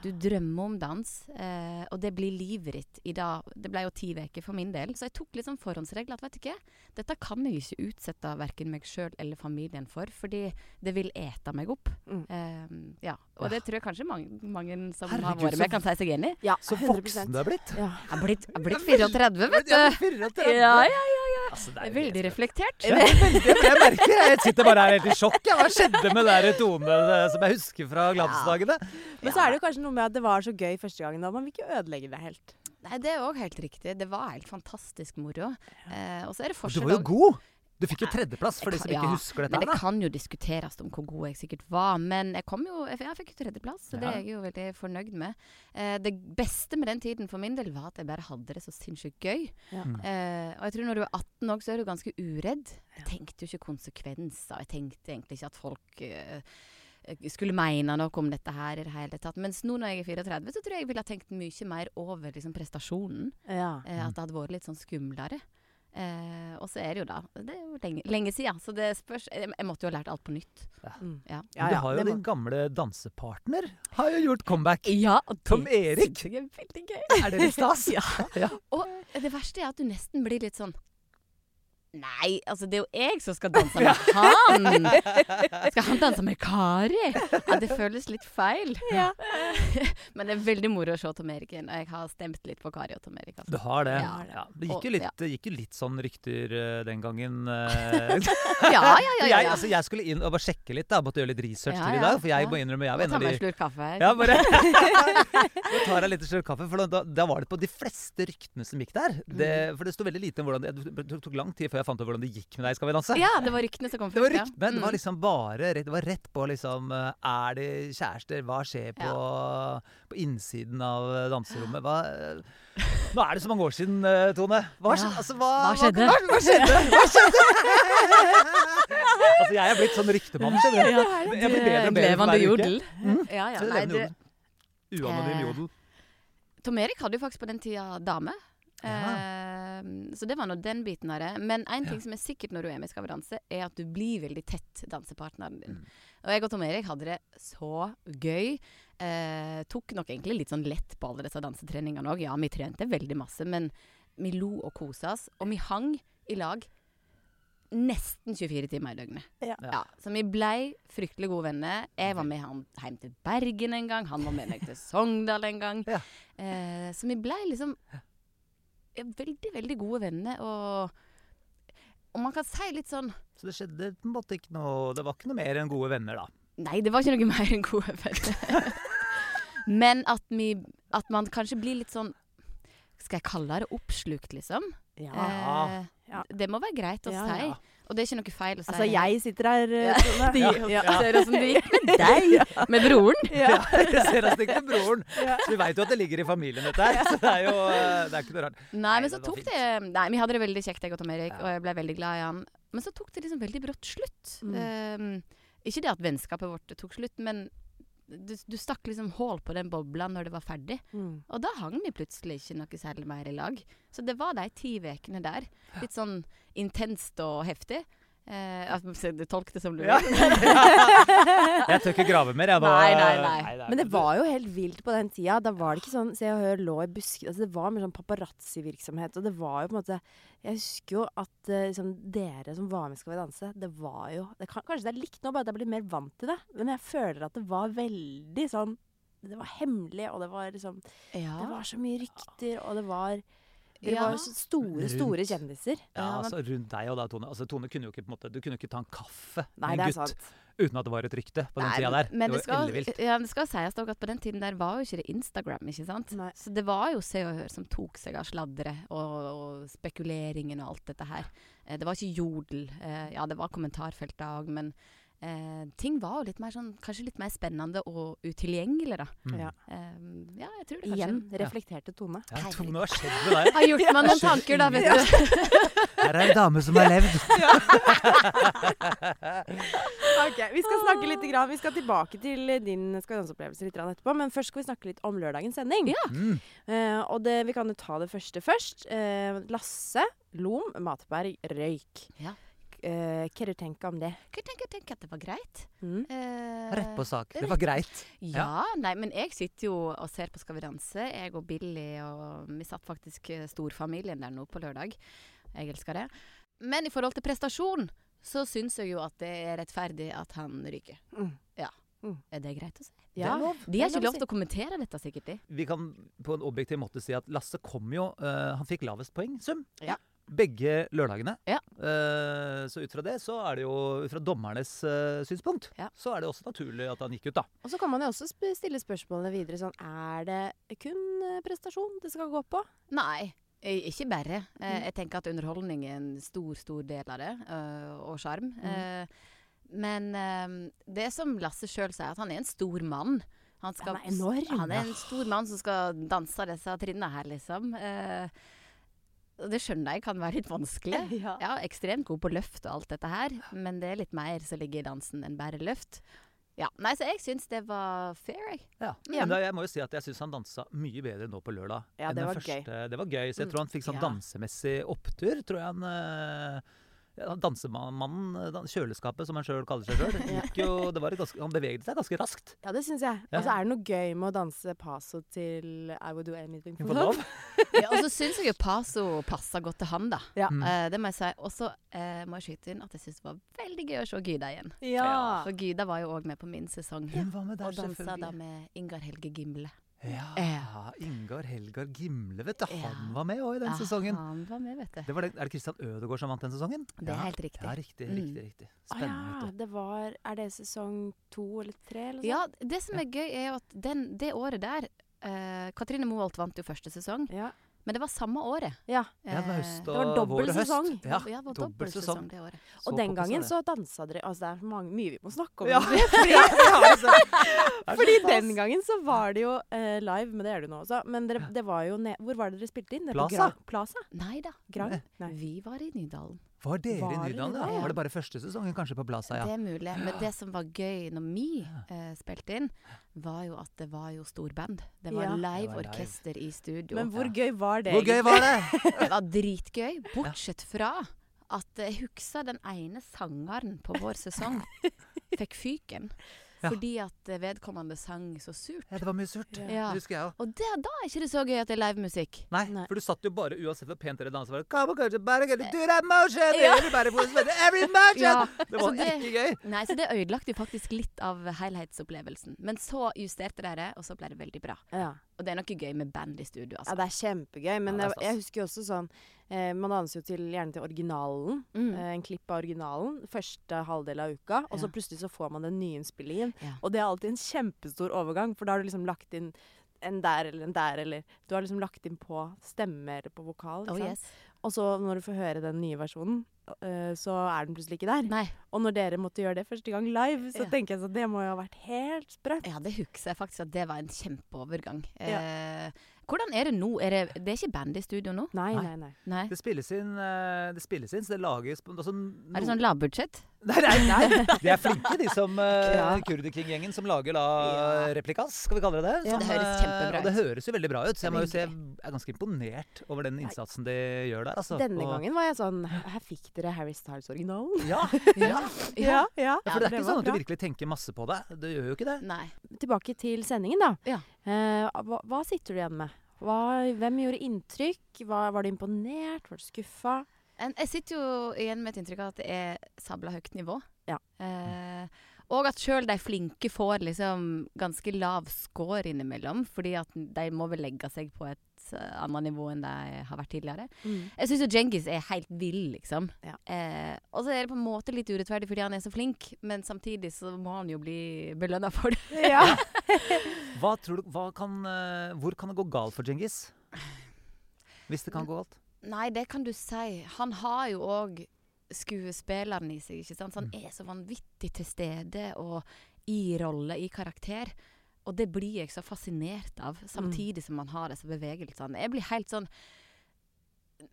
S3: Du drømmer om dans, eh, og det blir livet ditt i dag. Det ble jo ti uker for min del, så jeg tok litt sånn forhåndsregler at vet du ikke, dette kan jeg ikke utsette verken meg sjøl eller familien for, fordi det vil ete meg opp.
S1: Mm.
S3: Eh, ja. Og det tror jeg kanskje mange, mange som har
S2: Herregud,
S3: vært
S2: så-
S3: med, kan si seg enig i.
S1: Ja,
S2: Så voksen du er blitt.
S1: Ja.
S3: Jeg har blitt, jeg har blitt 34, vet
S2: Ja,
S3: du.
S2: men 34.
S3: Ja, ja, ja.
S2: Altså, det
S3: Det
S2: er
S3: er
S2: jo helt
S3: veldig reflektert.
S2: Ja, veldig. Jeg merker det. Jeg sitter bare her helt i sjokk. jeg. Hva skjedde med de tonene som jeg husker fra glansdagene?
S1: Men så er det jo kanskje noe med at det var så gøy første gangen. da, Man vil ikke ødelegge det helt.
S3: Nei, det er òg helt riktig. Det var helt fantastisk moro. Eh, og så er det
S2: Du
S3: forskjell
S2: var jo
S3: også-
S2: god. Du fikk jo tredjeplass, for de
S3: Jeg
S2: som
S3: kan-
S2: ikke
S3: ja,
S2: husker
S3: Men
S2: dette. her,
S3: det
S2: da.
S3: kan jo diskuteres om hvor god jeg sikkert var. Men jeg kom jo, jeg, jeg fikk jo tredjeplass, så det
S2: Ja.
S3: er jeg jo veldig fornøyd med. Eh, det beste med den tiden for min del var at jeg bare hadde det så sinnssykt gøy.
S1: Ja.
S2: Mm.
S3: Eh, og jeg tror når du er 18 òg, så er du ganske uredd. Jeg tenkte jo ikke konsekvenser. Jeg tenkte egentlig ikke at folk eh, skulle mene noe om dette her i det hele tatt. Mens nå når jeg er 34, så tror jeg jeg ville ha tenkt mye mer over liksom, prestasjonen.
S1: Ja.
S3: Eh,
S2: Mm.
S3: at det hadde vært litt sånn skumlere. Eh, og så er det jo da Det er jo lenge, lenge siden, så det spørs Jeg, jeg måtte jo ha lært alt på nytt.
S1: Mm.
S3: Ja,
S1: Ja, ja,
S2: Men du har jo
S1: det
S2: din gamle dansepartner. Har jo gjort comeback.
S3: og det
S2: Tom Erik.
S3: synes jeg er veldig gøy.
S2: Er det litt stas?
S3: Ja.
S2: Ja. Eh.
S3: Og det verste er at du nesten blir litt sånn Nei, altså det er jo jeg som skal danse med han! Skal han danse med Kari? Ja, det føles litt feil.
S1: Ja.
S3: Men det er veldig moro å se Tom Erik igjen, og jeg har stemt litt på Kari og Tom Erik. Altså.
S2: Du har det.
S3: Ja,
S2: Ja, det gikk jo
S3: Og-
S2: litt,
S3: ja.
S2: det gikk jo litt sånn rykter eh, den gangen. eh.
S3: Ja, ja, ja. ja,
S2: Jeg,
S3: ja.
S2: altså, jeg skulle inn og bare sjekke litt, da. Måtte gjøre litt research
S3: Ja,
S2: til i
S3: ja,
S2: dag. For jeg
S3: ja.
S2: må innrømme, jeg var
S3: Og
S2: en
S3: ta
S2: av
S3: meg
S2: de
S3: en slurk kaffe.
S2: Ja, bare Nå tar jeg litt slurk kaffe, for da, da var det på de fleste ryktene som gikk der. Det,
S3: Mm.
S2: for det sto veldig lite om hvordan det, det tok- tok lang tid før jeg fant ut hvordan det gikk med deg i Skal vi danse.
S3: Ja, det var ryktene som kom
S2: Det var
S3: først, ja.
S2: ryktene. Det
S3: Mm.
S2: var liksom bare rett, det var rett på liksom eh, Er det kjærester? Hva skjer på, på innsiden av eh, danserommet? Hva, eh, nå er det så mange år siden, eh, Tone. Hva, skj-
S3: Ja,
S2: altså, hva,
S3: hva skjedde?
S2: Hva, hva skjedde? Hva skjedde? altså, jeg er blitt sånn ryktemann, skjønner du. Jeg blir bedre og bedre for
S3: Levende
S2: hver uke.
S3: jodel.
S2: Mm.
S3: Ja, ja.
S2: Så
S3: Nei,
S2: levende
S3: det,
S2: jodel. Uanonym
S3: Eh,
S2: jodel.
S3: Tom Erik hadde jo faktisk på den tida dame.
S2: Ja.
S3: Eh, så det var nå den biten av det. Men én ting som er sikkert når du er med i Skal vi danse, er at du blir veldig tett dansepartneren din. Og jeg og Tom Erik hadde det så gøy. Eh, tok nok egentlig litt sånn lett på alle disse dansetreningene òg. Ja, vi trente veldig masse, men vi lo og kosa oss. Og vi hang i lag nesten 24 timer i døgnet.
S1: Ja.
S2: Ja.
S3: Så vi blei fryktelig gode venner. Jeg
S1: Mm.
S3: var med han hjem til Bergen en gang, han var med meg til Sogndal en gang.
S2: Ja.
S3: Eh, så vi blei liksom ja, veldig, veldig gode venner. Og, og man kan si litt sånn
S2: Så det skjedde på en måte ikke noe Det var ikke noe mer enn gode venner, da.
S3: Nei, det var ikke noe mer enn gode venner. Men at, vi, at man kanskje blir litt sånn Skal jeg kalle det oppslukt, liksom?
S1: ja.
S2: Ja.
S3: Eh,
S1: Ja.
S3: Det må være greit å
S1: Ja,
S3: si.
S1: ja.
S3: Og det er ikke noe feil å si.
S1: Altså, jeg sitter her,
S3: Ja.
S1: Tone.
S3: De,
S1: Ja.
S3: Ser åssen det gikk med deg, med broren.
S1: Ja.
S2: Jeg ser oss ikke til broren. Så vi veit jo at det ligger i familien, dette her. Så det er jo eh, det er ikke noe rart.
S3: Nei, men
S2: det
S3: så
S2: var
S3: tok det Nei, vi hadde det veldig kjekt, jeg og Tom Erik,
S2: Ja.
S3: og jeg ble veldig glad i han. Men så tok det liksom veldig brått slutt.
S1: Mm.
S3: Ehm, ikke det at vennskapet vårt tok slutt, men du, du stakk liksom hull på den bobla når det var ferdig.
S1: Mm.
S3: Og da hang vi plutselig ikke noe særlig mer i lag. Så det var de ti ukene der. Litt sånn intenst og heftig. Eh, altså, du tolk det som du vil.
S2: Ja. Jeg tør ikke grave mer, jeg nå.
S3: Nei, nei, nei.
S2: er-
S1: Men det var jo helt vilt på den tida. Da var det ikke sånn Se og Hør lå i busker altså Det var mer sånn paparazzi-virksomhet. Og det var jo på en måte Jeg husker jo at eh, liksom, dere som var med i Skal vi danse, det var jo det kan, Kanskje det er likt nå, bare at jeg blir mer vant til det. Men jeg føler at det var veldig sånn Det var hemmelig, og det var liksom
S3: Ja.
S1: Det var så mye rykter, og det var Dere
S3: Ja.
S1: var jo så store, store
S2: Rundt.
S1: kjendiser.
S2: Ja,
S3: Ja, men-
S2: altså Rundt deg og deg, Tone. Altså, Tone kunne jo ikke på en måte, Du kunne ikke ta en kaffe
S1: Nei,
S2: med
S1: det
S2: en
S1: er
S2: gutt
S1: sant.
S2: uten at det var et rykte på den
S3: Nei,
S2: tida der. det
S3: Men det,
S2: var
S3: skal,
S2: ellevilt.
S3: ja, det skal sies dog at på den tiden der var jo ikke det Instagram, ikke sant?
S1: Nei.
S3: Så det var jo Se og Hør som tok seg av sladderet og, og spekuleringen og alt dette her. Eh, Det var ikke jodel. eh, Ja, det var kommentarfelt da òg, men eh, ting var jo litt mer sånn Kanskje litt mer spennende og utilgjengelig, da.
S2: Mm.
S1: Ja.
S3: Eh, Ja, jeg tror det kanskje.
S1: Igjen reflekterte Tone.
S2: Ja, Tone, hva skjedde med deg?
S3: Har gjort meg noen tanker, da, vet du.
S2: Her er en dame som har levd.
S1: Ok, Vi skal snakke litt, grann. vi skal tilbake til eh, din Skal vi danse-opplevelse litt grann etterpå. Men først skal vi snakke litt om lørdagens sending.
S3: Ja.
S2: Mm.
S1: Eh, og det, vi kan jo ta det første først. Eh, Lasse Lom Matberg røyk.
S3: Ja.
S1: eh, hva du tenker om det.
S3: Jeg tenker, jeg tenker at det var greit.
S1: Mm.
S3: Eh,
S2: Rett på sak. Det var greit.
S3: Ja, nei, men jeg sitter jo og ser på Skal vi danse. Jeg og Billy og Vi satt faktisk eh, storfamilien der nå på lørdag. Jeg elsker det. Men i forhold til prestasjon, så syns jeg jo at det er rettferdig at han ryker.
S1: Mm.
S3: Ja.
S1: Mm.
S3: Er det greit å si?
S2: Det er
S1: Ja.
S2: lov.
S3: De har
S1: Det er
S3: ikke
S1: lov å
S3: lov til å kommentere dette, sikkert, de.
S2: Vi kan på en objektiv måte si at Lasse kom jo eh, Han fikk lavest poengsum.
S3: Ja.
S2: Begge lørdagene.
S3: Ja.
S2: Eh, så ut fra det, så er det jo ut fra dommernes eh, synspunkt,
S3: Ja.
S2: så er det også naturlig at han gikk ut, da.
S1: Og så kan man jo også sp- stille spørsmålene videre sånn Er det kun eh, prestasjon det skal gå på?
S3: Nei. eh, Ikke bare. Eh,
S1: Mm.
S3: Jeg tenker at underholdning er en stor, stor del av det, eh, og sjarm. Eh, Men eh, det som Lasse sjøl sier, at han er en stor mann. Han, skal,
S1: Han er enorm.
S3: han er en stor mann som skal danse disse trinnene her, liksom. Eh, og det skjønner jeg kan være litt vanskelig.
S1: Ja.
S3: Ja, ekstremt god på løft og alt dette her, men det er litt mer som ligger i dansen enn bare løft. Ja, Nei, så jeg syns det var fair, jeg.
S2: Ja.
S1: Ja.
S2: Men da, jeg må jo si at jeg syns han dansa mye bedre nå på lørdag.
S1: Ja, det
S2: enn den
S1: var gøy.
S2: første. Det var gøy. Så jeg
S3: Mm,
S2: tror han fikk sånn
S3: ja.
S2: dansemessig opptur. Tror jeg han eh, ja, han Dansemannen, eh, dan- kjøleskapet som han sjøl kaller seg sjøl, gikk jo det var et ganske, Han bevegde seg ganske raskt.
S1: Ja, det syns jeg.
S2: Ja.
S1: Og så er det noe gøy med å danse paso til I Would Do Anything
S2: Vi
S1: For
S2: får
S1: Love.
S2: lov.
S3: Ja, og så syns jeg jo Paso passa godt til han, da.
S1: Ja.
S2: Mm.
S3: Eh, det må jeg si. Og så eh, må jeg skyte inn at jeg syns det var veldig gøy å se Gyda igjen.
S1: Ja.
S3: For Gyda var jo òg med på min sesong.
S2: Hun var med der,
S3: Og dansa da
S2: selvfølgelig.
S3: med Ingar Helge Gimle.
S2: Ja, Ingar Helgar Gimle, vet du.
S3: Ja.
S2: Han var med òg i den sesongen.
S3: Han var med, vet du.
S2: Det var det, er det Christian Ødegaard som vant den sesongen?
S3: Det er
S2: ja.
S3: helt riktig.
S2: Ja, riktig,
S3: Mm.
S2: riktig, riktig.
S1: Å ja,
S2: Spennende. vet du.
S1: det var Er det sesong to eller tre? Eller
S3: Ja, det som er gøy, er jo at den, det året der eh, Katrine Moholt vant jo første sesong,
S1: sånt? Ja.
S3: men det var samme året.
S1: ja.
S2: Ja, det var
S3: Eh,
S2: høst
S1: var
S2: og
S1: dobbel
S2: vår og høst.
S1: sesong.
S2: Ja,
S3: ja, det var dobbel sesong det året.
S2: Så
S1: Og den
S2: populært
S1: gangen
S2: er det.
S1: så dansa dere Altså, det er så mange, mye vi må snakke om.
S2: Ja.
S1: Fordi,
S2: Det er så
S1: fordi
S2: stas.
S1: den gangen så var det jo eh, live, men det er det jo nå også. Men dere, det var jo ned Hvor var det dere spilte inn? Nede på
S2: Plaza.
S1: Gra- Plaza?
S3: Nei da,
S1: Grang? Nei.
S3: vi var i Nydalen.
S2: Var dere
S1: Var
S2: i
S1: det
S2: Nydalen?
S1: det?
S2: Ja.
S3: Ja.
S2: Var det bare første sesongen kanskje på Plaza? Ja.
S3: Det er mulig. Men det som var gøy når vi eh, spilte inn, var jo at det var jo storband. Det var
S1: Ja.
S2: Det
S3: live
S2: var live.
S3: orkester i studio.
S1: Men hvor gøy var det?
S2: Hvor gøy var det?
S3: Det var dritgøy, bortsett fra at jeg husker den ene sangeren på vår sesong fikk fyken.
S2: Ja.
S3: Fordi at eh, vedkommende sang så surt.
S2: Ja, det var mye surt.
S1: Ja.
S3: Ja.
S2: Det husker jeg òg.
S3: Og det, da er ikke det så gøy at det er livemusikk.
S2: Nei,
S1: Nei.
S2: for du satt jo bare, uansett hvor pent dere dansa, bare Come on, girls, bare get it, do that motion, everybody was with every motion!
S3: Ja,
S2: Det var
S3: så det-
S2: ikke gøy.
S3: Nei, så det ødelagte jo faktisk litt av helhetsopplevelsen. Men så justerte de det, og så ble det veldig bra.
S1: Ja.
S3: Og det er noe gøy med band i studio,
S1: ja,
S3: altså.
S1: det er kjempegøy. Men
S2: Ja, det er
S1: jeg, jeg husker jo også sånn eh, Man danser jo til, gjerne til originalen.
S3: Mm.
S1: eh, en klipp av originalen første halvdel av uka, og så
S3: Ja.
S1: plutselig så får man den nyinnspillingen.
S3: Ja.
S1: Og det er alltid en kjempestor overgang, for da har du liksom lagt inn en der eller en der, eller Du har liksom lagt inn på stemme eller på vokal. Ikke
S3: Oh,
S1: sant?
S3: yes.
S1: Og så når du får høre den nye versjonen, øh, så er den plutselig ikke der.
S3: Nei,
S1: Og når dere måtte gjøre det første gang live, så
S3: Ja.
S1: tenker jeg sånn Det må jo ha vært helt sprøtt.
S3: ja, det husker jeg faktisk at det var en kjempeovergang.
S1: Ja.
S3: Eh, hvordan er det nå? Er det, det er ikke band i studio nå?
S1: Nei,
S2: Nei.
S1: nei, nei.
S3: Nei.
S2: Det spilles inn, eh, det spilles inn, så det lages på- altså, no-
S3: Er det sånn lavbudsjett?
S2: Nei, nei, nei. De er flinke, de som uh,
S1: Ja.
S2: Kurderking-gjengen som lager da
S3: Ja.
S2: replikas, skal vi kalle det det.
S3: Ja, det
S2: Som,
S3: høres kjempebra
S2: eh, og Det høres jo veldig bra ut, så jeg må jo
S3: Veldig.
S2: si jeg er ganske imponert over den innsatsen de gjør der. Altså.
S1: Denne
S2: Og-
S1: gangen var jeg sånn Her fikk dere Harry Styles-originalen.
S2: Ja,
S3: Ja.
S1: Ja, ja.
S2: for det er
S1: det
S2: ikke
S1: var
S2: sånn at du
S1: bra.
S2: virkelig tenker masse på det. Du gjør jo ikke det.
S3: Nei.
S1: tilbake til sendingen, da.
S3: Ja.
S1: Eh, hva, hva sitter du igjen med? Hva, hvem gjorde inntrykk? Hva, var du imponert? Var du skuffa?
S3: En, jeg sitter jo igjen med et inntrykk av at det er sabla høyt nivå.
S1: Ja.
S3: Eh, og at sjøl de flinke får liksom ganske lav score innimellom, fordi at de må vel legge seg på et eh, annet nivå enn de har vært tidligere.
S1: Mm.
S3: Jeg syns jo Djengis er helt vill, liksom.
S1: Ja.
S3: Eh, og så er det på en måte litt urettferdig fordi han er så flink, men samtidig så må han jo bli belønna for det.
S1: Ja.
S2: Hva tror du, hva kan, eh, hvor kan det gå galt for Djengis? Hvis det kan gå galt.
S3: Nei, det kan du si. Han har jo òg skuespilleren i seg, ikke sant. Så han er så vanvittig til stede og i rolle, i karakter. Og det blir jeg så fascinert av, samtidig som man har disse bevegelsene. Jeg blir helt sånn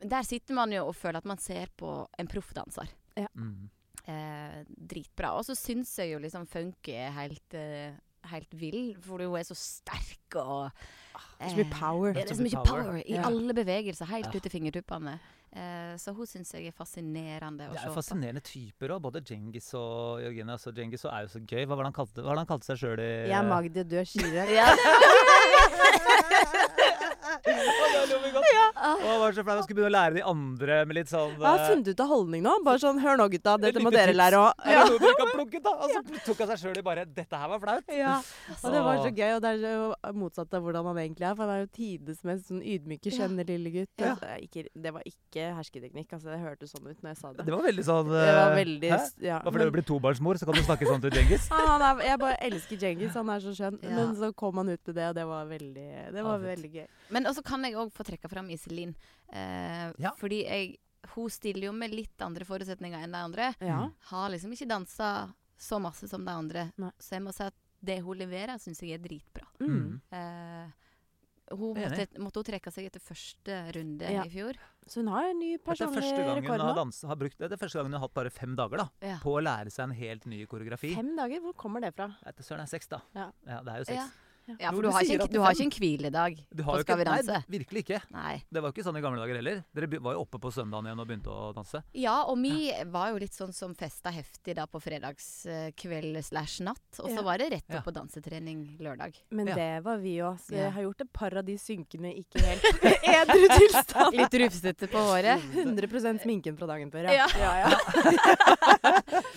S3: Der sitter man jo og føler at man ser på en proffdanser.
S2: Mm.
S3: Eh, dritbra. Og så syns jeg jo liksom funky er helt eh, Helt vill, for hun er så sterk og
S1: Det er så mye power.
S3: det er så mye power i
S1: Ja.
S3: alle bevegelser, helt
S2: Ja.
S3: ut i fingertuppene. Eh, så hun syns jeg er fascinerende å
S2: Det
S3: se
S2: er
S3: på.
S2: fascinerende typer òg, både Djengis og Jørgine. Altså, Djengis er jo så gøy. Hva var det han kalte, hva var det han kalte seg sjøl i
S1: Jeg er Magdi, og du er Shirek.
S2: Å, jeg var så flau. Jeg skulle begynne å lære de andre med litt sånn
S1: Jeg har
S2: eh,
S1: funnet ut av holdning nå. Bare sånn, Hør nå, gutta.
S2: et
S1: Dette må
S2: lite
S1: dere
S2: tips.
S1: lære òg.
S2: Er det noe dere kan plukke, da? Og så pl- tok han seg sjøl i bare Dette her var flaut.
S1: Ja. Og det var så
S2: Åh.
S1: gøy. Og det er jo motsatt av hvordan han egentlig er. For han er jo tidenes mest sånn ydmyke, skjønne lille gutt.
S2: Ja.
S1: Altså, ikke, det var ikke hersketeknikk. Altså, det hørtes sånn ut når jeg sa det.
S2: Det var veldig sånn
S1: Det var
S2: eh,
S1: veldig
S2: hæ?
S1: s- ja.
S2: Bare fordi
S1: men-
S2: du blir tobarnsmor, så kan du snakke sånn til Djengis?
S1: Ja, Ah, han er, jeg bare elsker Djengis, han er så skjønn.
S3: Ja.
S1: Men så kom han ut med det, og det var veldig, det var
S2: Ja, fint.
S1: veldig gøy.
S3: Men også kan jeg òg få trekke fram Iselin. Eh,
S2: Ja.
S3: Fordi jeg, hun stiller jo med litt andre forutsetninger enn de andre.
S1: Ja.
S2: Mm.
S3: Har liksom ikke dansa så masse som de andre.
S1: Nei.
S3: Så jeg må si at det hun leverer, syns jeg er dritbra.
S1: Mm.
S2: Mm.
S3: Eh, hun
S2: Jeg er
S3: måtte, måtte hun trekke seg etter første runde
S1: Ja.
S3: i fjor.
S1: Så hun har en ny
S2: Dette er første
S1: personlig
S2: gangen hun
S1: rekord
S2: har
S1: nå.
S2: dans- har brukt, det er første gangen hun har hatt bare fem dager da,
S3: Ja.
S2: på å lære seg en helt ny koreografi.
S1: Fem dager, hvor kommer det fra?
S2: Etter søren er seks, da.
S1: Ja.
S2: det er jo
S3: Ja.
S2: seks.
S3: ja,
S2: Jo,
S3: for
S2: du
S3: du har,
S2: sier at
S3: ikke, en- du har
S2: fem-
S3: ikke en hviledag
S2: Du har
S3: på
S2: jo
S3: Skal vi
S2: ikke-
S3: danse.
S2: Nei, virkelig ikke.
S3: Nei.
S2: Det var jo ikke sånn i gamle dager heller. Dere be- var jo oppe på søndagen igjen og begynte å danse.
S3: Ja, og vi var jo litt sånn som festa heftig da på fredagskveld slash natt. Og så
S1: Ja.
S3: var det rett
S2: Ja.
S3: opp på dansetrening lørdag.
S1: Men
S2: Ja.
S1: det var vi òg. Så
S3: Ja.
S1: jeg har gjort et par av de synkende ikke helt edru tilstand.
S3: Litt rufsete på håret.
S1: 100 sminken fra dagen før,
S3: Ja.
S1: ja. ja, ja.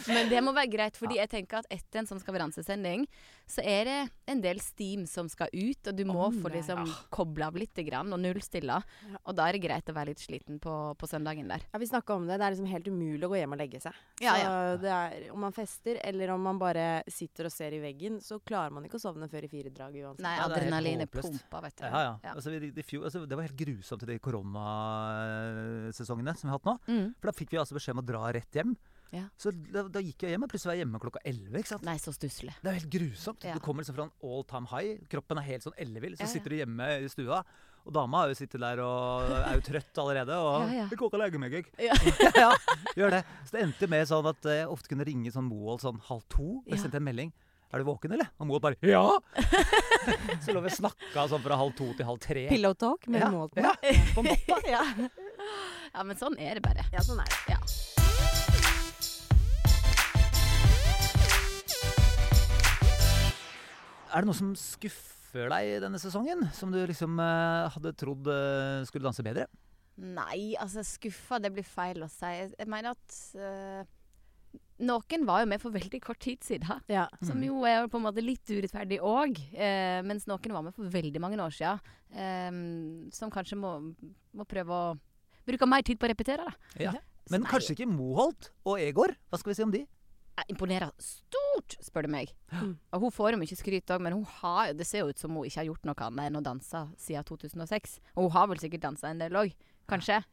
S3: Men det må være greit, fordi jeg tenker at etter en sånn skaveransesending, så er det en del steam som skal ut, og du må
S1: Å,
S3: få
S1: nei.
S3: liksom koble av litt grann, og nullstille.
S1: Ja.
S3: Og da er det greit å være litt sliten på, på søndagen der.
S1: Ja, Vi snakka om det. Det er liksom helt umulig å gå hjem og legge seg.
S3: Ja,
S1: så Det er, om man fester, eller om man bare sitter og ser i veggen, så klarer man ikke å sovne før i fire drag uansett.
S3: Nei,
S2: Ja, det er helt
S3: adrenalinet
S2: håpløst.
S3: pumper, vet du.
S2: Ja, ja. Altså, vi, i fjor, altså, det var helt grusomt i de koronasesongene som vi har hatt nå.
S3: Mm.
S2: For da fikk vi altså beskjed om å dra rett hjem.
S3: Ja.
S2: Så da, da gikk jeg hjem, og plutselig var jeg hjemme klokka 11. Ikke sant?
S3: Nei, så stusslig.
S2: Det er jo helt grusomt.
S3: Ja.
S2: Du kommer liksom fra en all time high. Kroppen er helt sånn ellevill. Så
S3: Ja, ja.
S2: sitter du hjemme i stua, og dama har jo sittet der og er jo trøtt allerede. Og
S3: Ja, ja.
S2: 'Jeg koker leggemegg, jeg'.
S3: Ja.
S2: ja, gjør det. Så det endte med sånn at eh, jeg ofte kunne ringe sånn Moholt sånn halv to. Og
S3: Ja.
S2: jeg sendte en melding. 'Er du våken, eller?' Og Moholt bare 'Ja!' så lå vi og snakka sånn fra halv to til halv tre.
S1: Pillow talk med
S2: Ja,
S1: mål på.
S2: ja, på en måte.
S1: ja.
S3: Ja, men sånn er det bare.
S1: ja, sånn er det.
S3: Ja.
S2: Er det noe som skuffer deg denne sesongen? Som du liksom eh, hadde trodd eh, skulle danse bedre?
S3: Nei, altså skuffa, det blir feil å si. Jeg jeg mener at eh, noen var jo med for veldig kort tid siden.
S1: Ja.
S3: Som
S2: Mhm.
S3: jo er jo på en måte litt urettferdig òg, eh, mens noen var med for veldig mange år siden. Eh, som kanskje må, må prøve å bruke mer tid på å repetere, da.
S2: Ja. Men
S3: Som er
S2: kanskje ikke Moholt og Egor? Hva skal vi si om de?
S3: Jeg imponerer stort, spør du meg.
S1: Mm.
S3: Og hun får jo mye skryt òg, men hun har, jo- det ser jo ut som hun ikke har gjort noe annet enn å danse siden 2006. Og hun har vel sikkert dansa en del òg, kanskje?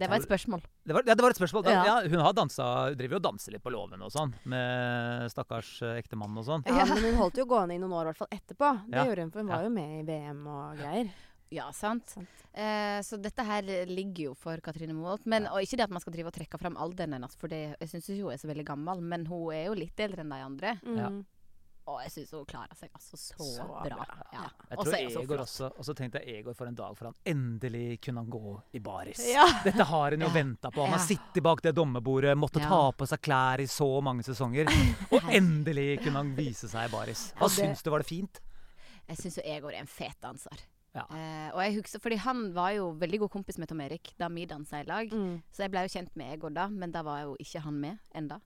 S3: Det var et spørsmål.
S2: Det var, ja, det var et spørsmål. Da,
S1: Ja.
S2: ja. hun har dansa, hun driver jo og danser litt på låven og sånn, med stakkars eh, ektemann og sånn.
S1: Ja, men hun holdt jo gående i noen år, i hvert fall etterpå. Det
S2: Ja.
S1: gjorde hun, for hun
S2: Ja.
S1: var jo med i VM og greier.
S3: Ja, sant?
S1: Sant.
S3: Eh, så dette her ligger jo for Katrine Moholt. Men, og ikke det at man skal drive og trekke fram alderen hennes, for det, jeg syns ikke hun er så veldig gammel, men hun er jo litt eldre enn de andre.
S2: Ja.
S1: Mm.
S3: Og jeg syns hun klarer seg altså så,
S1: Så
S3: bra.
S1: bra.
S3: Ja.
S2: Jeg
S3: Og så
S2: tror
S3: er hun så
S2: Egor
S3: flott.
S2: også, og så tenkte jeg Egor for en dag, for han endelig kunne han gå i baris.
S1: Ja.
S2: Dette har hun jo
S3: Ja.
S2: venta på. Han har
S3: Ja.
S2: sittet bak det dommerbordet, måtte
S3: Ja.
S2: ta på seg klær i så mange sesonger. Og endelig kunne han vise seg i baris.
S1: Ja,
S2: Hva
S1: det-
S2: syns du var det fint?
S3: Jeg syns jo Egor er en fet danser.
S2: Ja.
S3: Eh, og jeg husker, fordi han var jo veldig god kompis med Tom Erik da vi dansa i lag.
S1: Mm.
S3: Så jeg ble jo kjent med Egor da, men da var jo ikke han med enda.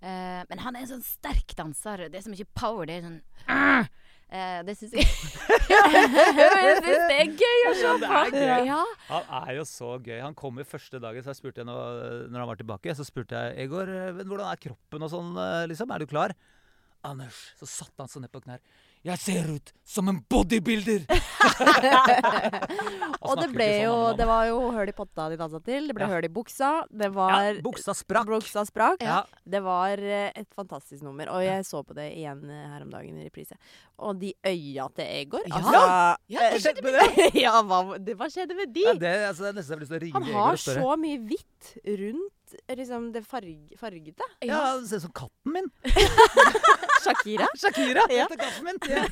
S3: Eh, men han er en sånn sterk danser. Det er så mye power. Det er sånn «Arr!» Eh, Det syns jeg Jeg syns det er gøy å se på.
S2: det er gøy.
S3: Ja.
S2: Han er jo så gøy. Han kom jo første dagen, så jeg spurte jeg nå, når han var tilbake, så spurte jeg Egor, eh, men hvordan er kroppen og sånn, eh, liksom? Er du klar? Anders, så satte han seg ned på knær. Jeg ser ut som en bodybuilder!
S1: Og det ble
S2: sånn
S1: jo Det var jo høl i potta de dansa til. Det ble
S2: Ja.
S1: høl i buksa. Det var
S2: ja, Buksa sprakk.
S1: Buksa sprakk.
S2: Ja.
S1: Det var eh, et fantastisk nummer, og jeg så på det igjen eh, her om dagen i reprise. Og de øya til Egor
S2: Ja.
S1: altså,
S3: Ja, hva
S1: eh,
S3: skjedde
S1: ja, hva, det, hva skjedde med de?
S2: Ja, det, altså, det er nesten jeg har lyst til å ringe
S1: Han
S2: Egor
S1: har
S2: og spørre.
S1: så mye hvitt rundt liksom, det farg, fargete.
S2: Ja, han ser ut som katten min.
S1: Shakira.
S2: Shakira
S1: Ja.
S2: heter katten min. Ja.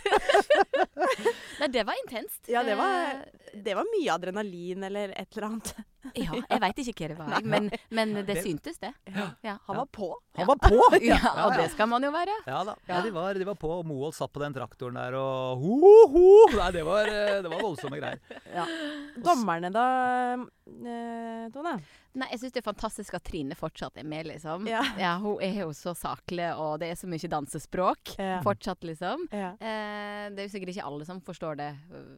S3: Nei, det var intenst.
S1: Ja, det var,
S3: Eh,
S1: det var mye adrenalin eller et eller annet.
S3: Eh, Ja, jeg veit ikke hva det var, jeg, men, men det
S2: Det-
S3: syntes, det. Ja,
S2: Ja.
S3: han var på.
S2: Han var på!
S3: Ja,
S2: ja,
S3: og
S2: ja.
S3: det skal man jo være.
S2: Ja da. Ja, de, var, de var på, og Moholt satt på den traktoren der og ho, ho! Nei, det var, eh, det var voldsomme greier.
S1: Dommerne da, eh, Tone?
S3: Nei, jeg syns det er fantastisk at Trine fortsatt er med, liksom.
S1: Ja.
S3: Hun er jo så saklig, og det er så mye dansespråk
S1: Ja.
S3: fortsatt, liksom.
S1: Ja.
S3: Eh, det er jo sikkert ikke alle som forstår det.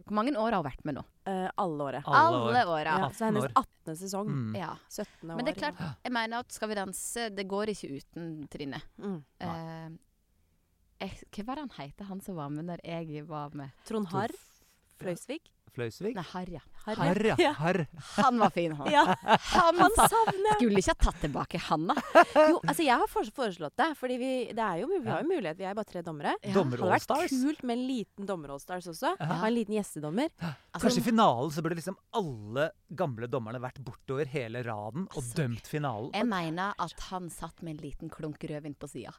S3: Hvor mange år har hun vært med nå?
S1: Eh, alle året.
S2: Alle år.
S3: åra.
S1: Ja, så
S2: 18
S1: hennes
S2: år.
S1: 18. sesong.
S2: Mm.
S3: Ja.
S1: 17. år.
S3: Men det er klart, jeg mener at Skal vi danse, det går ikke uten Trine.
S1: ja. Mm.
S3: Eh, jeg, hva var det han het, han som var med når jeg var med?
S1: Trond Harr Fløysvig.
S2: Fløysvig?
S3: Nei, Harr, ja.
S2: Harr, ja.
S1: Ja.
S2: Harr.
S3: Han var fin, han.
S1: Ja,
S3: Han
S1: han
S3: sa
S1: savner jeg.
S3: Skulle ikke ha tatt tilbake han, da.
S1: Jo, altså jeg har fors- foreslått det, fordi vi, det er jo, mul- vi har jo mulighet. Vi er bare tre dommere.
S3: Ja,
S1: Det
S2: Dommer
S1: hadde vært
S2: Allstars.
S1: kult med en liten dommer Allstars også.
S2: Ja.
S1: Ha en liten gjestedommer.
S3: Altså,
S2: Kanskje i finalen så burde liksom alle gamle dommerne vært bortover hele raden og
S3: Altså,
S2: dømt finalen.
S3: Jeg mener at han satt med en liten klunk rødvin på sida.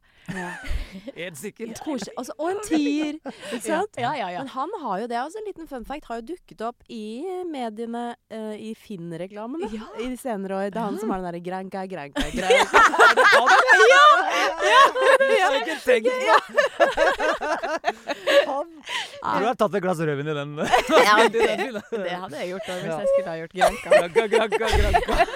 S2: Helt sikkert.
S1: Koselig. Altså, og en tier! Ikke sant?
S3: Ja, ja, ja.
S1: Men han har jo det, altså en liten fun fact, har jo dukket opp i mediene eh, i Finn-reklamene
S3: Ja.
S1: i de senere år. Det er han som har den derre granka, granka,
S2: Er det han, eller? Jeg har ikke tenkt på Han Tror du har tatt et glass rødvin i den.
S3: Ja,
S2: i den filmen.
S3: Det hadde jeg gjort da, hvis
S2: Ja.
S3: jeg skulle ha gjort granka.
S2: Granka, granka, granka.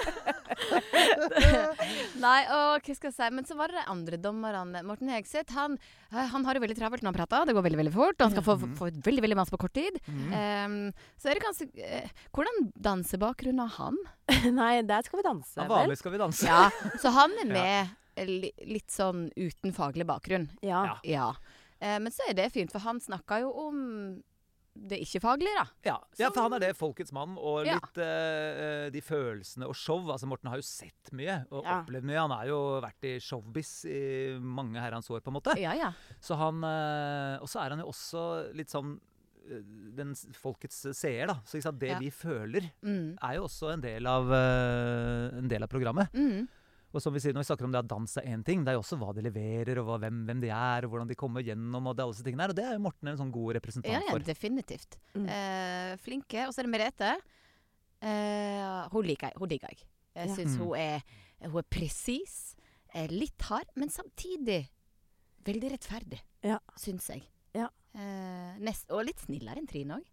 S3: Nei, og hva skal jeg si. Men så var det de andre dommerne. Morten Hegseth han, eh, han har det veldig travelt når han prater. Det går veldig veldig fort. og Han skal få, få veldig veldig masse på kort tid. Ehm, så er det ganske eh, Hvordan dansebakgrunn har han?
S1: Nei, der skal vi danse,
S2: Ja,
S1: vel?
S2: vanlig skal vi danse.
S3: Ja, Så han er med eh, li, litt sånn uten faglig bakgrunn.
S1: Ja.
S2: Ja.
S3: Ja. Eh, men så er det fint, for han snakka jo om det ikke-faglige, da.
S2: Ja, ja, for han er det folkets mann, og
S3: Ja.
S2: litt eh, eh, de følelsene og show. Altså, Morten har jo sett mye og
S1: Ja.
S2: opplevd mye. Han har jo vært i showbiz i mange herrens år, på en måte.
S3: Ja, ja.
S2: Så han, eh, og så er han jo også litt sånn eh, den s- folkets seer, da. Så ikke sant? det
S3: Ja.
S2: vi føler,
S3: Mm.
S2: er jo også en del av, eh, en del av programmet.
S3: Mm.
S2: Og som vi sier når vi snakker om det at dans er én ting, det er jo også hva de leverer, og hva, hvem, hvem de er, og hvordan de kommer gjennom, og det, alle disse tingene her. Og det er jo Morten en sånn god
S3: Ja,
S2: representant
S3: ja,
S2: for.
S3: definitivt.
S1: Mm.
S3: Eh, flinke. Og så er det Merete. Eh, hun liker jeg. Hun digger jeg. Jeg
S1: Ja.
S3: syns
S2: Mm.
S3: hun er, hun er presis, eh, litt hard, men samtidig veldig rettferdig,
S1: Ja.
S3: syns jeg.
S1: Ja.
S3: Eh, nest, og litt snillere enn Trine òg.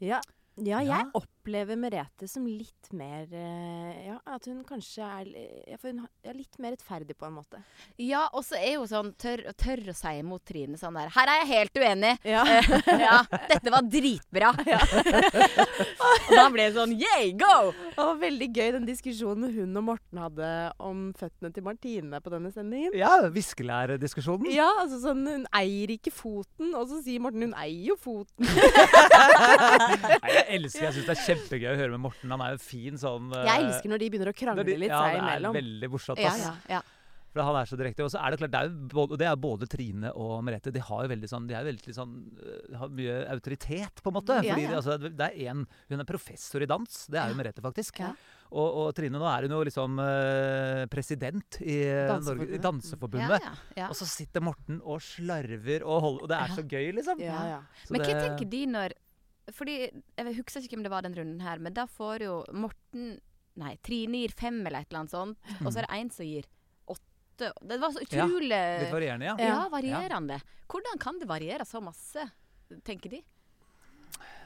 S1: Ja. ja, jeg
S2: Ja.
S1: opplever Merete som litt mer eh, Ja, at hun kanskje er li- ja, for hun er litt mer rettferdig på en måte.
S3: Ja, og så er hun sånn tørr, tørr å si imot Trine sånn der Her er jeg helt uenig!
S1: Ja.
S3: ja, dette var dritbra! og da ble det sånn yeah, go!
S1: Det var veldig gøy den diskusjonen hun og Morten hadde om føttene til Martine på denne sendingen.
S2: Ja, viskelærdiskusjonen.
S1: Ja, altså sånn, hun eier ikke foten, og så sier Morten hun eier jo foten.
S2: Nei, jeg elsker, jeg syns det er kjempegøy å høre med Morten. Han er jo en fin sånn eh,
S1: Jeg elsker når de begynner å krangle
S2: når de-
S1: litt
S2: ja,
S1: seg
S2: Det
S1: imellom.
S2: er veldig morsomt.
S3: Ja,
S2: ass.
S3: ja, ja.
S2: For han er så direkte. Og så er det klart, det er jo både, og det er både Trine og Merete. De har jo veldig sånn, de er jo veldig sånn, øh, har mye autoritet, på en måte.
S3: Ja,
S2: Fordi
S3: ja.
S2: Det, altså, det er en, hun er professor i dans. Det er jo Merete, faktisk.
S3: Ja.
S2: Og, og Trine, nå er hun jo liksom øh, president i eh, Norge,
S1: Danseforbundet.
S2: i Danseforbundet.
S3: ja, ja, ja.
S2: Og så sitter Morten og slarver og holder Og det er
S3: Ja.
S2: så gøy, liksom.
S1: Ja, ja.
S2: Så
S3: Men hva
S2: det-
S3: tenker de når Fordi jeg husker ikke hvem det var den runden her, men da får jo Morten Nei, Trine gir fem eller et eller annet sånt, og så er det én som gir åtte. Det var så
S2: Ja,
S3: utrolig
S2: Litt
S3: ja,
S2: varierende, ja.
S3: varierende. Hvordan kan det variere så masse, tenker de?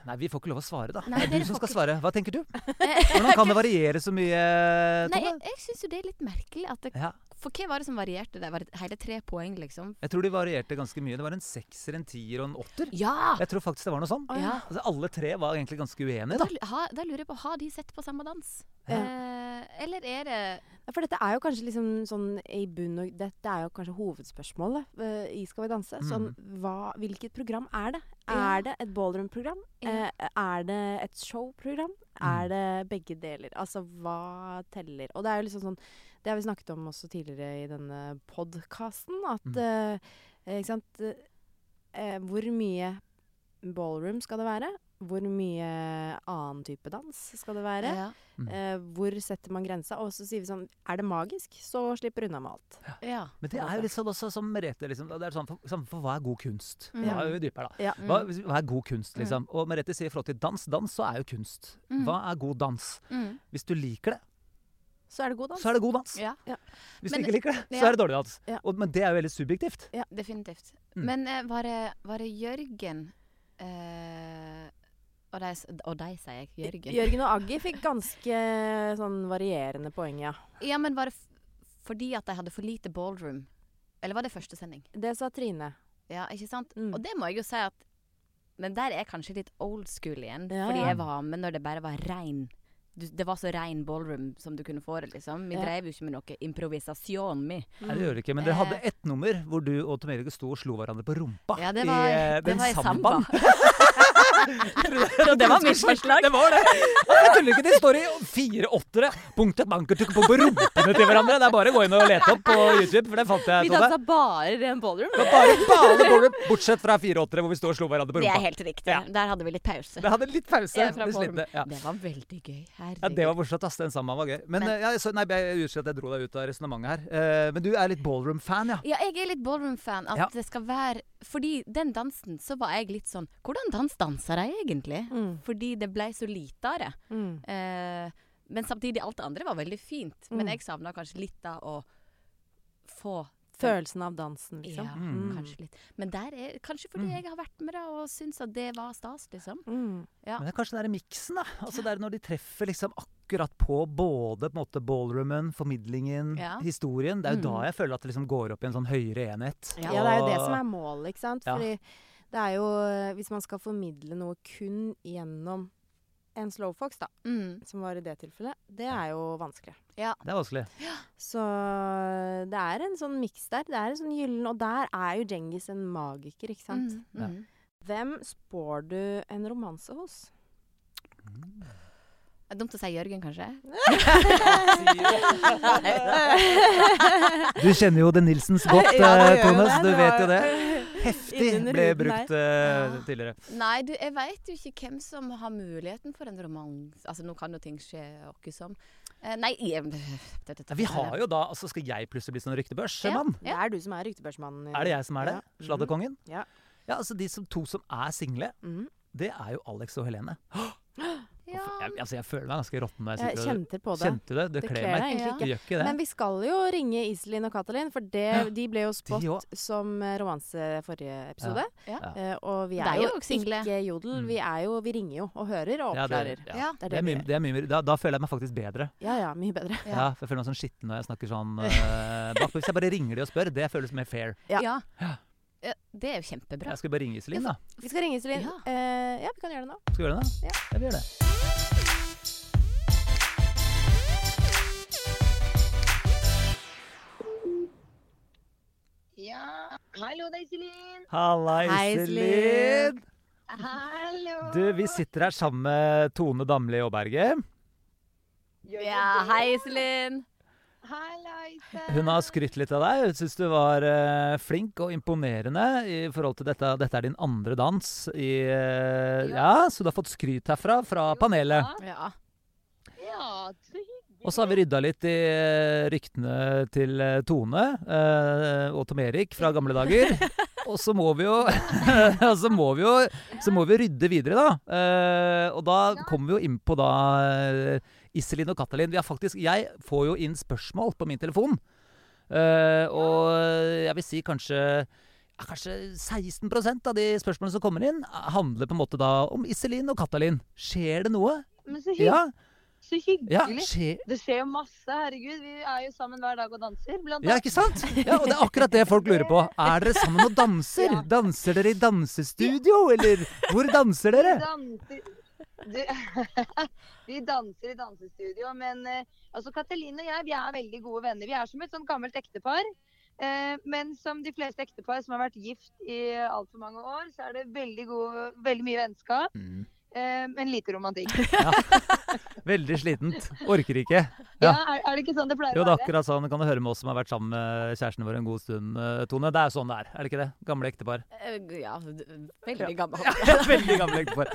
S2: Nei, vi får ikke lov å svare, da.
S3: Nei,
S2: det er
S3: dere
S2: du som
S3: får
S2: skal svare. Hva tenker du? Hvordan kan det variere så mye,
S3: Nei,
S2: Tone?
S3: jeg, jeg syns jo det er litt merkelig at det
S2: Ja,
S3: For hva var det som varierte der? Var det hele tre poeng, liksom?
S2: jeg tror de varierte ganske mye. Det var en sekser, en tier og en åtter.
S3: Ja!
S2: Jeg tror faktisk det var noe sånn.
S3: ja.
S2: Altså, alle tre var egentlig ganske uenige,
S3: Da,
S2: da.
S3: ha, da lurer jeg på, har de sett på samme dans?
S1: Ja.
S3: Eh, eller er det
S1: Ja, For dette er jo kanskje liksom sånn i bunn og Dette er jo kanskje hovedspørsmålet eh, i Skal vi danse. Sånn, hva, hvilket program er det?
S3: Mm. Ja.
S1: Er det et ballroom-program?
S3: Ja. Mm.
S1: Eh, er det et show-program? Er det begge deler? Altså, hva teller? Og det er jo liksom sånn Det har vi snakket om også tidligere i denne podkasten, at
S3: Mm.
S1: eh, eh, Ikke sant eh, Hvor mye ballroom skal det være? Hvor mye annen type dans skal det være?
S3: Ja.
S1: Eh, hvor setter man grensa? Og så sier vi sånn Er det magisk, så slipper du unna med alt.
S3: ja.
S2: Men det er jo litt sånn også som Merete, liksom. Det er sånn, for, sånn, for hva er god kunst?
S3: Mm.
S2: Hva er jo dypere, da.
S1: Ja.
S2: Hva, hva er god kunst, liksom? Og Merete sier i forhold til dans. Dans, så er jo kunst.
S3: Mm.
S2: Hva er god dans?
S3: Mm.
S2: Hvis du liker det,
S1: Så er det god dans.
S2: så er det god dans.
S3: ja.
S2: Hvis
S3: Men-
S2: du ikke liker det, så
S3: ja.
S2: er det dårlig dans.
S1: Ja.
S2: Og, men det er jo veldig subjektivt.
S3: Definitivt.
S2: Mm.
S3: Men eh, var, det, var det Jørgen eh, og, de, s- og de, sier jeg. Jørgen.
S1: Jørgen og Aggi fikk ganske sånn varierende poeng, ja.
S3: Ja, men var det f fordi at de hadde for lite ballroom? Eller var det første sending?
S1: Det sa Trine.
S3: Ja, ikke sant?
S1: Mm.
S3: Og det må jeg jo si at Men der er jeg kanskje litt old school igjen.
S1: Ja,
S3: fordi
S1: ja.
S3: jeg var med når det bare var rein du, Det var så rein ballroom som du kunne få det, liksom. Vi
S1: Ja.
S3: dreiv jo ikke med noe improvisasjon, mi.
S2: Nei, det gjør det ikke. Men dere hadde
S3: Eh.
S2: ett nummer hvor du og Tom Erik sto og slo hverandre på rumpa.
S3: Ja, det var
S2: eh,
S3: det
S2: den
S3: var i samba.
S2: sambaen.
S3: Og det var mitt forslag.
S2: Det var det. Altså, jeg tuller ikke, de står i fire åttere. Punktet banker tok på på rumpene til hverandre. Det er bare å gå inn og lete opp på YouTube, for det fant jeg,
S3: Vi
S2: Tove.
S3: dansa bare ren ballroom.
S2: Det var bare bale bowler, bortsett fra fire åttere hvor vi står og slo hverandre på
S3: Det er
S2: rumpa.
S3: helt riktig.
S2: Ja.
S3: Der hadde vi litt pause.
S2: Det hadde litt pause.
S3: Ja, fra
S2: det
S3: ballroom.
S2: slipper, ja.
S3: Det var veldig gøy.
S2: Ja,
S3: Herregud.
S2: Det var morsomt. ass. Den sammen var gøy. Men,
S3: Men-
S2: eh, ja, så, nei, jeg Unnskyld at jeg dro deg ut av resonnementet her. Eh, men du er litt ballroom-fan, ja.
S3: Ja, jeg er litt ballroom-fan. At
S2: Ja.
S3: det skal være Fordi den dansen, så var jeg litt sånn Hvordan dans danser jeg egentlig?
S1: Mm.
S3: Fordi det blei så lite av det.
S1: Mm.
S3: Eh, men samtidig, alt det andre var veldig fint. Men
S1: Mm.
S3: jeg savna kanskje litt av å få
S1: Følelsen av dansen, liksom.
S3: Ja,
S2: Mm.
S3: kanskje litt. Men der er Kanskje fordi jeg har vært med da og syns at det var stas, liksom.
S1: Mm.
S3: Ja.
S2: Men det er kanskje den der miksen, da. Altså det er når de treffer liksom akkurat på både på en måte ballroomen, formidlingen,
S3: Ja.
S2: historien. Det er jo da
S3: Mm.
S2: jeg føler at det liksom går opp i en sånn høyere enhet.
S3: Ja.
S1: Ja, det er jo det som er målet, ikke sant.
S2: Ja.
S1: Fordi det er jo eh, Hvis man skal formidle noe kun gjennom en slowfox, da,
S3: Mm.
S1: som var i det tilfellet, det er jo vanskelig.
S2: Det er vanskelig.
S1: Så det er en sånn miks der. Det er en sånn gyllen Og der er jo Djengis en magiker, ikke sant.
S3: Mm.
S2: Ja.
S3: Mm.
S1: Hvem spår du en romanse hos?
S3: Det er dumt å si Jørgen, kanskje?
S2: Du kjenner jo The Nilsens godt,
S1: Ja, det
S2: eh,
S1: gjør
S2: Tone,
S1: jo
S2: så
S1: det.
S2: du
S1: Det
S2: vet jo
S1: var-
S2: det. Heftig
S1: Innunder
S2: ble
S1: huden
S2: brukt eh, tidligere.
S3: Nei, du, jeg veit jo ikke hvem som har muligheten for en romanse. Altså, nå kan jo ting skje åkke som. Eh, nei, jeg,
S2: Ja, Vi har jo da altså Skal jeg plutselig bli sånn ryktebørsmann?
S1: Det er du som er ryktebørsmannen.
S2: Er det jeg som er det?
S1: Ja. Mm-hmm.
S2: Sladderkongen?
S1: Ja.
S2: ja, altså de som, to som er single,
S1: Mm.
S2: det er jo Alex og Helene.
S3: Ja.
S2: Jeg, altså, jeg føler meg ganske råtten når jeg
S1: Jeg
S2: sitter og
S1: kjente på det.
S2: Kjente du det? Det
S1: Det
S2: kler
S1: kler
S2: meg.
S1: deg egentlig
S3: Ja.
S1: ikke.
S2: Det gjør ikke det.
S1: Men vi skal jo ringe Iselin og Katalin, for det, de ble jo spått
S2: òg.
S1: som eh, romanse forrige episode.
S3: Ja.
S1: Eh, og vi er,
S3: Det er jo
S1: jo
S3: også single.
S1: ikke jodel.
S2: Mm.
S1: Vi, er jo, vi ringer jo og hører og
S2: Ja,
S1: oppklarer.
S2: det,
S1: Ja,
S2: ja.
S3: Ja.
S1: Det er
S2: Det er
S1: det
S2: mye, det er mye, mer- da, da føler jeg meg faktisk bedre.
S1: ja, mye bedre.
S3: Ja.
S2: Ja. for jeg føler meg sånn skitten når jeg snakker sånn eh, bak. Hvis jeg bare ringer de og spør, det føles mer fair.
S1: Ja.
S3: Ja. Ja, Det er jo kjempebra.
S2: Jeg skal bare ringe Iselin, da.
S1: Vi skal ringe Iselin.
S3: Ja.
S1: Eh, ja, vi kan gjøre det nå.
S2: Skal vi gjøre det?
S1: Ja.
S2: ja vi gjør det.
S4: Ja, hallo det er Iselin.
S2: Halla,
S1: Hei, Iselin.
S2: Iselin!
S4: Hallo.
S2: Du, vi sitter her sammen med Tone Damli Aaberge.
S4: Gjør
S3: Ja,
S4: det?
S3: hei Iselin!
S4: Hallaise.
S2: Hun har skrytt litt av deg. Hun syns du var eh, flink og imponerende i forhold til dette. Dette er din andre dans i eh, Ja, så du har fått skryt herfra, fra panelet.
S3: Ja.
S4: Ja, så hyggelig.
S2: Og så har vi rydda litt i eh, ryktene til eh, Tone eh, og Tom Erik fra gamle dager. Og så må vi jo, og så må vi jo så må vi rydde videre, da. Eh, og da kommer vi jo inn på da eh, Iselin og Katalin. Vi har faktisk, jeg får jo inn spørsmål på min telefon. Eh, og jeg vil si kanskje ja, Kanskje 16 av de spørsmålene som kommer inn, handler på en måte da om Iselin og Katalin. Skjer det noe?
S4: Men så, hygg
S2: Ja,
S4: så
S2: ja
S4: hyggelig.
S2: skjer,
S4: Det skjer jo masse, herregud. Vi er jo sammen hver dag og danser, blant
S2: Ja,
S4: annet.
S2: ikke sant? Ja, og det er akkurat det folk lurer på. Er dere sammen og danser?
S4: Ja.
S2: Danser dere i dansestudio, eller hvor danser dere?
S4: Vi danser, du, vi danser i dansestudio, men eh, altså Katalin og jeg vi er veldig gode venner. Vi er som et sånt gammelt ektepar. Eh, men som de fleste ektepar som har vært gift i altfor mange år, så er det veldig, gode, veldig mye vennskap,
S2: Mm.
S4: eh, men lite romantikk.
S2: Veldig slitent. Orker ikke. Ja.
S4: Ja, er, er det ikke sånn det pleier
S2: Jo, det
S4: å
S2: er
S4: være?
S2: akkurat sånn. Kan du høre med oss som har vært sammen med kjæresten vår en god stund, eh, Tone. Det er sånn det er, er det ikke det? Gamle ektepar.
S3: Eh, ja, d- veldig gammel.
S2: Veldig gamle ektepar.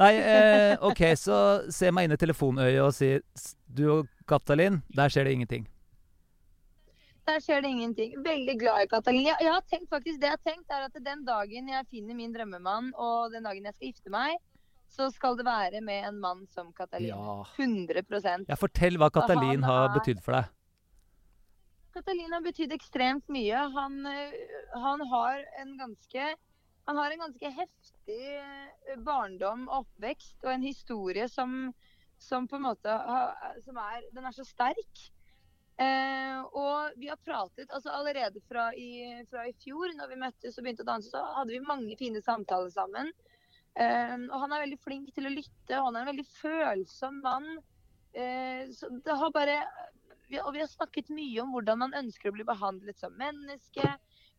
S2: Nei, eh, OK, så se meg inn i telefonøyet og si "S- Du og Katalin, der skjer det ingenting.
S4: Der skjer det ingenting. Veldig glad i Katalin. Jeg, jeg har tenkt faktisk, det jeg har tenkt er at den dagen jeg finner min drømmemann, og den dagen jeg skal gifte meg, så skal det være med en mann som Katalin.
S2: Ja.
S4: 100
S2: Ja, fortell hva Katalin
S4: han
S2: har
S4: er-
S2: betydd for deg.
S4: Katalin har betydd ekstremt mye. Han, øh, han, har en ganske, han har en ganske heftig øh, barndom og oppvekst, og en historie som, som på en måte har, som er, den er så sterk. Eh, og vi har pratet altså allerede fra i, fra i fjor, når vi møttes og begynte å danse, så hadde vi mange fine samtaler sammen. Eh, og han er veldig flink til å lytte, og han er en veldig følsom mann. Eh, så det har bare vi, og vi har snakket mye om hvordan man ønsker å bli behandlet som menneske.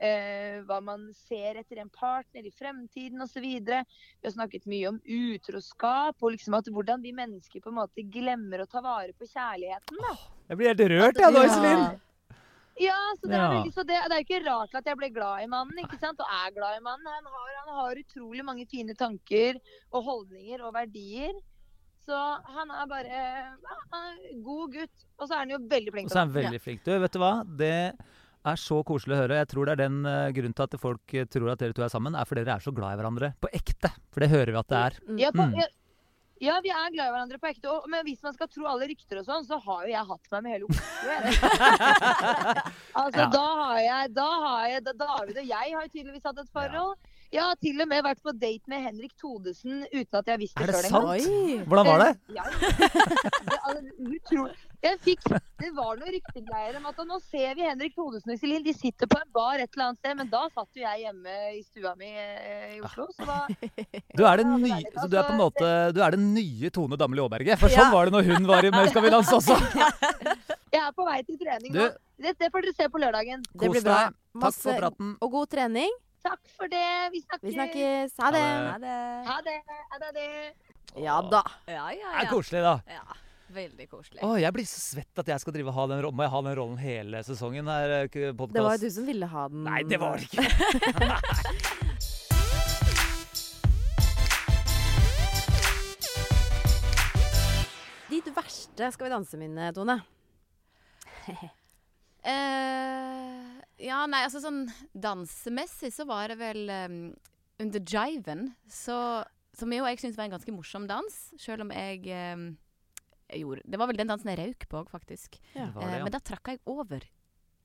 S4: Eh, hva man ser etter en partner i fremtiden osv. Vi har snakket mye om utroskap og liksom at hvordan vi mennesker på en måte glemmer å ta vare på kjærligheten. Da.
S2: Jeg blir helt rørt,
S4: jeg,
S2: jeg
S4: nå,
S2: nå,
S4: Iselin.
S2: Iselin.
S4: Ja, så Det er,
S2: Ja.
S4: veldig, så det, det er jo ikke rart at jeg ble glad i mannen, ikke sant? og er glad i mannen. Han har, han har utrolig mange fine tanker og holdninger og verdier. Så han er bare ja, han er en god gutt. Og så er han jo veldig flink.
S2: Og
S4: til
S2: så er han
S1: Ja.
S2: veldig flink. Du, vet du hva? Det er så koselig å høre. Jeg tror det er den eh, grunnen til at folk eh, tror at dere to er sammen, er fordi dere er så glad i hverandre. På ekte. For det hører vi at det er.
S4: Ja, på,
S2: Mm.
S4: ja, ja, vi er glad i hverandre på ekte. Og, men hvis man skal tro alle rykter og sånn, så har jo jeg hatt meg med hele Oslo. jeg. altså,
S2: Ja.
S4: da har jeg, da har jeg da, David og jeg har jo tydeligvis hatt et forhold. Jeg har til og med vært på date med Henrik Thodesen uten at jeg har visst
S2: Er
S4: det
S2: det
S4: sjøl
S2: sant?
S1: Oi!
S2: Hvordan var det?
S4: Ja. Det, altså, utro- jeg fikk, det var noen ryktegreier om at nå ser vi Henrik Thodesen og Iselin. De sitter på en bar et eller annet sted, men da satt jo jeg hjemme i stua mi eh, i Oslo. Så
S2: Ah.
S4: da
S2: Du er, den
S4: Ja, det
S2: nye,
S4: er litt-
S2: så du er på en
S4: altså,
S2: måte Du er den nye Tone Damli Aaberge. For
S1: Ja.
S2: sånn var det når hun var i Med Skal vi danse også.
S4: Jeg er på vei til trening
S2: Du,
S4: nå. Det, det får dere se på lørdagen.
S1: Det blir
S2: kos
S1: bra.
S2: deg. Takk
S1: Masse-
S2: for praten.
S1: Og god trening.
S4: Takk for det. Vi snakkes.
S1: Vi snakkes. Ha det.
S2: Ha
S4: Ha det. Ha det, ha det.
S1: Ja da.
S3: Ja, ja,
S2: Det er koselig, da.
S3: ja. Veldig koselig.
S2: Å, jeg blir så svett at jeg skal drive og ha den, ro- må jeg ha den rollen hele sesongen her. eh, k- podcast.
S1: Det var jo du som ville ha den.
S2: Nei, det var det ikke.
S1: Ditt verste Skal vi danse, min Tone.
S3: Eh, ja, nei, altså sånn dansemessig så var det vel eh, under jiven, så, som jo jeg syns var en ganske morsom dans, sjøl om jeg eh, jeg gjorde Det var vel den dansen jeg røyk på òg, faktisk.
S1: Ja.
S2: Det var det,
S3: Eh,
S2: ja.
S3: men da trakk jeg over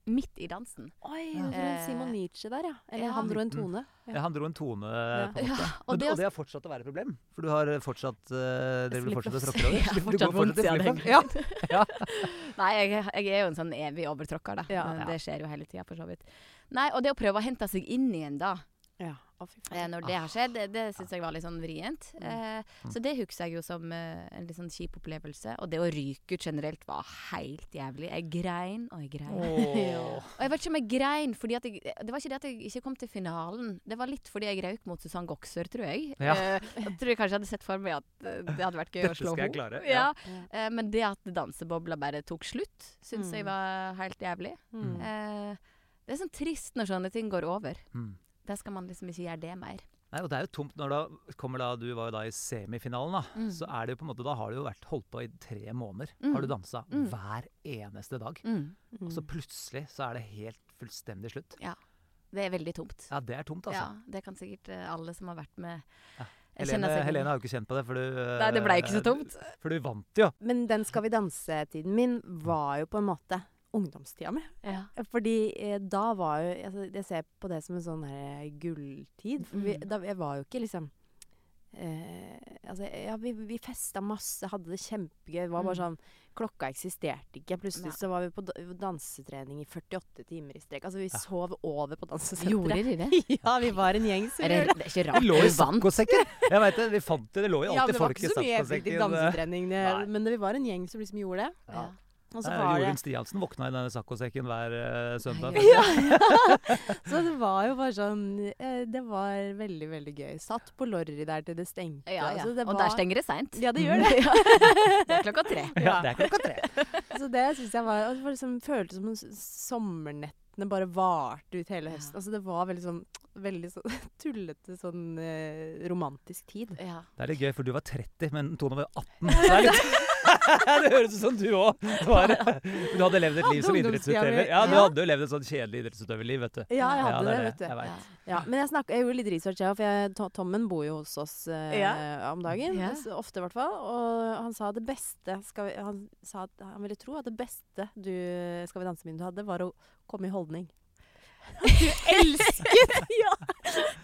S3: midt i dansen.
S1: Oi,
S2: Ja.
S1: du dro en Simon
S3: Eh,
S1: Nietzsche der, ja. Eller
S3: ja.
S1: han
S2: mm.
S1: dro en tone.
S2: Ja, han dro en tone. eh, På. Men,
S3: Ja, og det,
S2: og det har fortsatt å være et problem, for du har eh, fortsatt eh, Dere vil
S1: Slipploss.
S2: fortsette å tråkke over.
S3: Ja,
S2: Du går
S3: fortsatt
S2: i
S3: vondt, ja, det er
S2: slipploss. Ja.
S3: Nei, jeg, jeg er jo en sånn evig overtråkker, da.
S1: Ja.
S3: Men Det skjer jo hele tida, for så vidt. Nei, og det å prøve å hente seg inn igjen da,
S1: Ja. Å, fy faen.
S3: eh, når det har skjedd, det, det syns jeg var litt sånn vrient. Eh, så det husker jeg jo som eh, en litt sånn kjip opplevelse. Og det å ryke ut generelt var helt jævlig. Jeg grein og jeg grein.
S2: Åh.
S3: Og jeg vet ikke om jeg grein fordi at jeg, Det var ikke det at jeg ikke kom til finalen. Det var litt fordi jeg røyk mot Susann Goksør, tror jeg.
S2: Ja.
S3: Eh, jeg tror jeg kanskje hadde sett for meg at eh, det hadde vært gøy
S2: Dette
S3: å slå
S2: skal jeg
S3: henne.
S2: klare,
S3: Ja.
S2: ja.
S3: Eh, men det at dansebobla bare tok slutt, syns
S1: Mm.
S3: jeg var helt jævlig.
S1: Mm.
S3: Eh, det er sånn trist når sånne ting går over.
S2: Mm.
S3: Da skal man liksom ikke gjøre det mer.
S2: Nei, og det er jo tomt når da kommer da, du var jo da i semifinalen, da.
S3: Mm.
S2: Så er det jo på en måte, da har du jo vært holdt på i tre måneder.
S3: Mm.
S2: Har du dansa
S3: Mm.
S2: hver eneste dag. Og
S1: Mm.
S2: så plutselig så er det helt fullstendig slutt.
S3: Det er veldig tomt.
S2: Ja, det er tomt,
S3: Ja,
S2: altså.
S3: det kan sikkert eh, alle som har vært med
S2: Ja.
S3: eh,
S2: Helene,
S3: kjenne seg igjen i.
S2: Helene har jo ikke kjent på det, for du
S3: Nei, det ble ikke så
S2: eh,
S3: tomt.
S2: For du vant jo.
S1: Men den Skal vi danse-tiden min var jo på en måte ungdomstida mi.
S3: Ja.
S1: Fordi eh, da var jo altså, Jeg ser på det som en sånn her eh, gulltid. For vi,
S3: Mm.
S1: da, jeg var jo ikke liksom eh, Altså, ja, vi, vi festa masse, hadde det kjempegøy. Det var bare sånn Klokka eksisterte ikke. Plutselig så var vi på da- dansetrening i 48 timer i strek. Altså, vi
S2: Ja.
S1: sov over på dansesenteret.
S3: Gjorde de det?
S1: ja, vi var en gjeng som
S3: Er det,
S1: gjorde det.
S3: det er ikke
S2: Vi
S3: rart
S2: lå i
S3: du vant.
S2: saccosekken! Jeg veit det, vi fant det. Det lå jo
S1: Ja, men
S2: alltid
S1: det var
S2: folk
S1: ikke
S2: i
S1: så mye effektiv
S2: saccosekken. eh.
S1: dansetrening, det,
S2: Nei.
S1: men det, vi var en gjeng som liksom gjorde det.
S3: Ja.
S2: Ja.
S1: Og så
S2: Nei,
S1: var det
S2: Jorunn Eh, Stiansen våkna i denne saccosekken hver eh, søndag.
S3: Nei,
S1: Ja, ja. Så det var jo bare sånn eh, Det var veldig, veldig gøy. Satt på Lorry der til det stengte.
S3: Ja, ja.
S1: altså, det
S3: Og
S1: var-
S3: der stenger det seint.
S1: Ja, det gjør det.
S3: Det er klokka tre.
S2: Ja, det er klokka tre.
S1: Så så det synes jeg var, og det var liksom, føltes som om s- sommernettene bare varte ut hele
S3: Ja.
S1: høsten. Altså, det var veldig sånn, veldig sånn tullete, sånn eh, romantisk tid.
S3: Ja.
S2: Det er litt gøy, for du var 30, men Tone var jo 18. Så det, er litt... det høres ut som du òg var. Du hadde levd et liv som
S1: Hadde ungdomstida mi.
S2: idrettsutøver. Ja, du
S1: Ja.
S2: hadde jo levd et sånn kjedelig idrettsutøverliv, vet du.
S1: Ja, jeg
S2: Ja,
S1: hadde
S2: det
S1: det,
S2: er det.
S1: vet du.
S2: Jeg vet.
S3: Ja.
S1: Ja, men jeg, snakket, jeg gjorde litt research, jeg òg, for jeg, To- Tommen bor jo hos oss eh,
S5: Ja.
S1: om dagen.
S3: Ja.
S1: s- Ofte, i hvert fall. Og han sa det beste skal vi, Han sa at han ville tro at det beste du Skal vi danse-min du hadde, var å komme i holdning.
S3: Elsket!
S1: ja!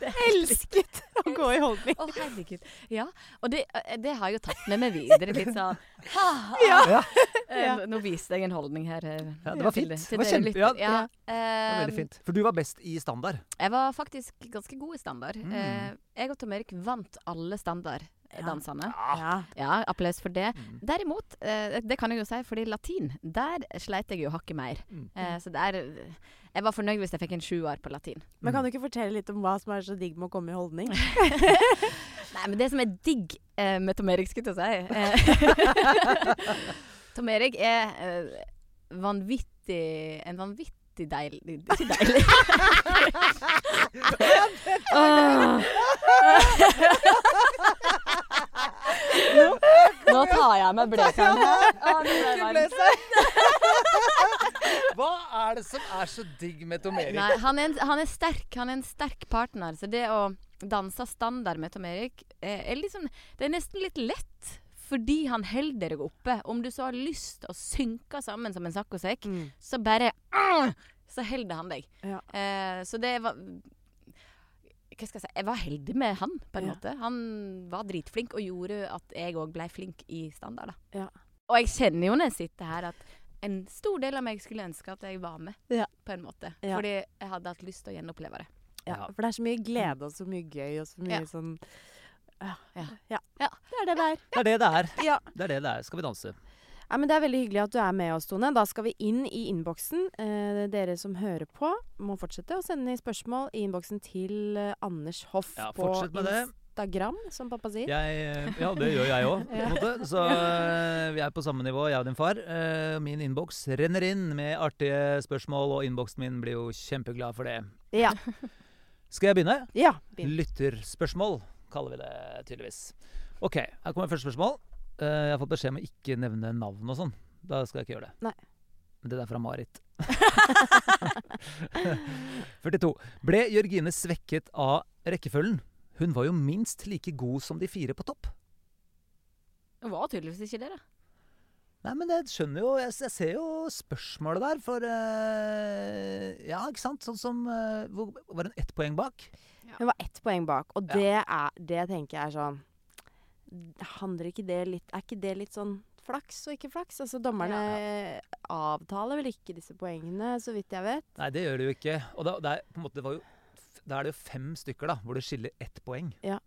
S1: Elsket å gå i holdning.
S3: Å, herregud. Ja, og det, eh, det har jeg jo tatt med meg videre. Litt sånn ha,
S2: Ja.
S3: Eh, Nå viste jeg en holdning her. eh,
S2: Ja, det var
S3: til-
S2: fint. Det
S3: til
S2: var
S3: dere
S2: kjempe-
S3: lytter.
S2: ja, Det
S3: Ja,
S2: var
S1: Um,
S3: eh,
S2: veldig fint. For du var best i standard.
S3: Jeg var faktisk ganske god i standard.
S2: Mm.
S3: Eh, jeg og Tom Erik vant alle standarddansene.
S1: Ja.
S3: Ja, applaus for det.
S2: Mm.
S3: Derimot, eh, det kan jeg jo si, fordi latin, der sleit jeg jo hakket mer.
S2: Mm.
S3: Eh, så der Jeg var fornøyd hvis jeg fikk en sjuer på latin.
S1: Men kan du ikke fortelle litt om hva som er så digg med å komme i holdning?
S3: Nei, men det som er digg eh, med Tom Erik, skulle jeg til å si eh, Tom Erik er eh, vanvittig En vanvittig deilig Ikke deilig. Åh. Nå, nå tar jeg av meg blazeren. Åh, nå ble jeg varm.
S2: Hva er det som er så digg med Tom Erik?
S3: Nei, han er, en, han er sterk. Han er en sterk partner. Så det å danse standard med Tom Erik eh, er liksom Det er nesten litt lett. Fordi han holder deg oppe. Om du så har lyst å synke sammen som en saccosekk,
S1: Mm.
S3: så bare ah, Så holder han deg.
S1: Ja.
S3: Eh, så det var hva skal jeg si? Jeg var heldig med han, på en
S1: Ja.
S3: måte. Han var dritflink og gjorde at jeg òg ble flink i standard. Da.
S1: Ja.
S3: Og jeg kjenner jo når jeg sitter her at en stor del av meg skulle ønske at jeg var med,
S1: Ja.
S3: på en måte.
S1: Ja.
S3: Fordi jeg hadde hatt lyst til å gjenoppleve det.
S1: Ja, for det er så mye glede og så mye gøy og så mye
S3: Ja.
S1: sånn ja.
S3: Ja.
S1: ja.
S3: Ja.
S1: Det er det det er.
S2: Det er det det er.
S1: Ja.
S2: Det er det det er. Skal vi danse?
S1: Ja, men Det er veldig hyggelig at du er med oss, Tone. Da skal vi inn i innboksen. Eh, dere som hører på, må fortsette å sende spørsmål i innboksen til eh, Anders Hoff
S2: Ja,
S1: på
S2: fortsett med det.
S1: Instagram, som pappa sier.
S2: Jeg, eh, ja, det gjør jeg òg, på
S1: Ja.
S2: en måte. Så eh, vi er på samme nivå, jeg og din far. Eh, Min innboks renner inn med artige spørsmål, og innboksen min blir jo kjempeglad for det.
S1: Ja.
S2: Skal jeg begynne?
S1: ja. begynn.
S2: Lytterspørsmål kaller vi det tydeligvis. OK, her kommer første spørsmål. Eh, Jeg har fått beskjed om å ikke nevne navn og sånn. Da skal jeg ikke gjøre det.
S1: Nei.
S2: Men det der er fra Marit. 42. Ble Jørgine svekket av rekkefølgen? Hun var jo minst like god som de fire på topp.
S3: Det var tydeligvis ikke det, da.
S2: Nei, men jeg skjønner jo Jeg, jeg ser jo spørsmålet der, for eh, Ja, ikke sant? Sånn som eh, hvor, Var hun ett poeng bak?
S1: Hun var ett poeng bak, og
S2: Ja.
S1: det, er, det tenker jeg er sånn Handler ikke det litt Er ikke det litt sånn flaks og ikke flaks? Altså, Dommerne avtaler vel ikke disse poengene, så vidt jeg vet.
S2: Nei, det gjør det jo ikke. Og da, det er, på en måte, det var jo, f- da er det jo fem stykker da, hvor det skiller ett poeng.
S1: Ja.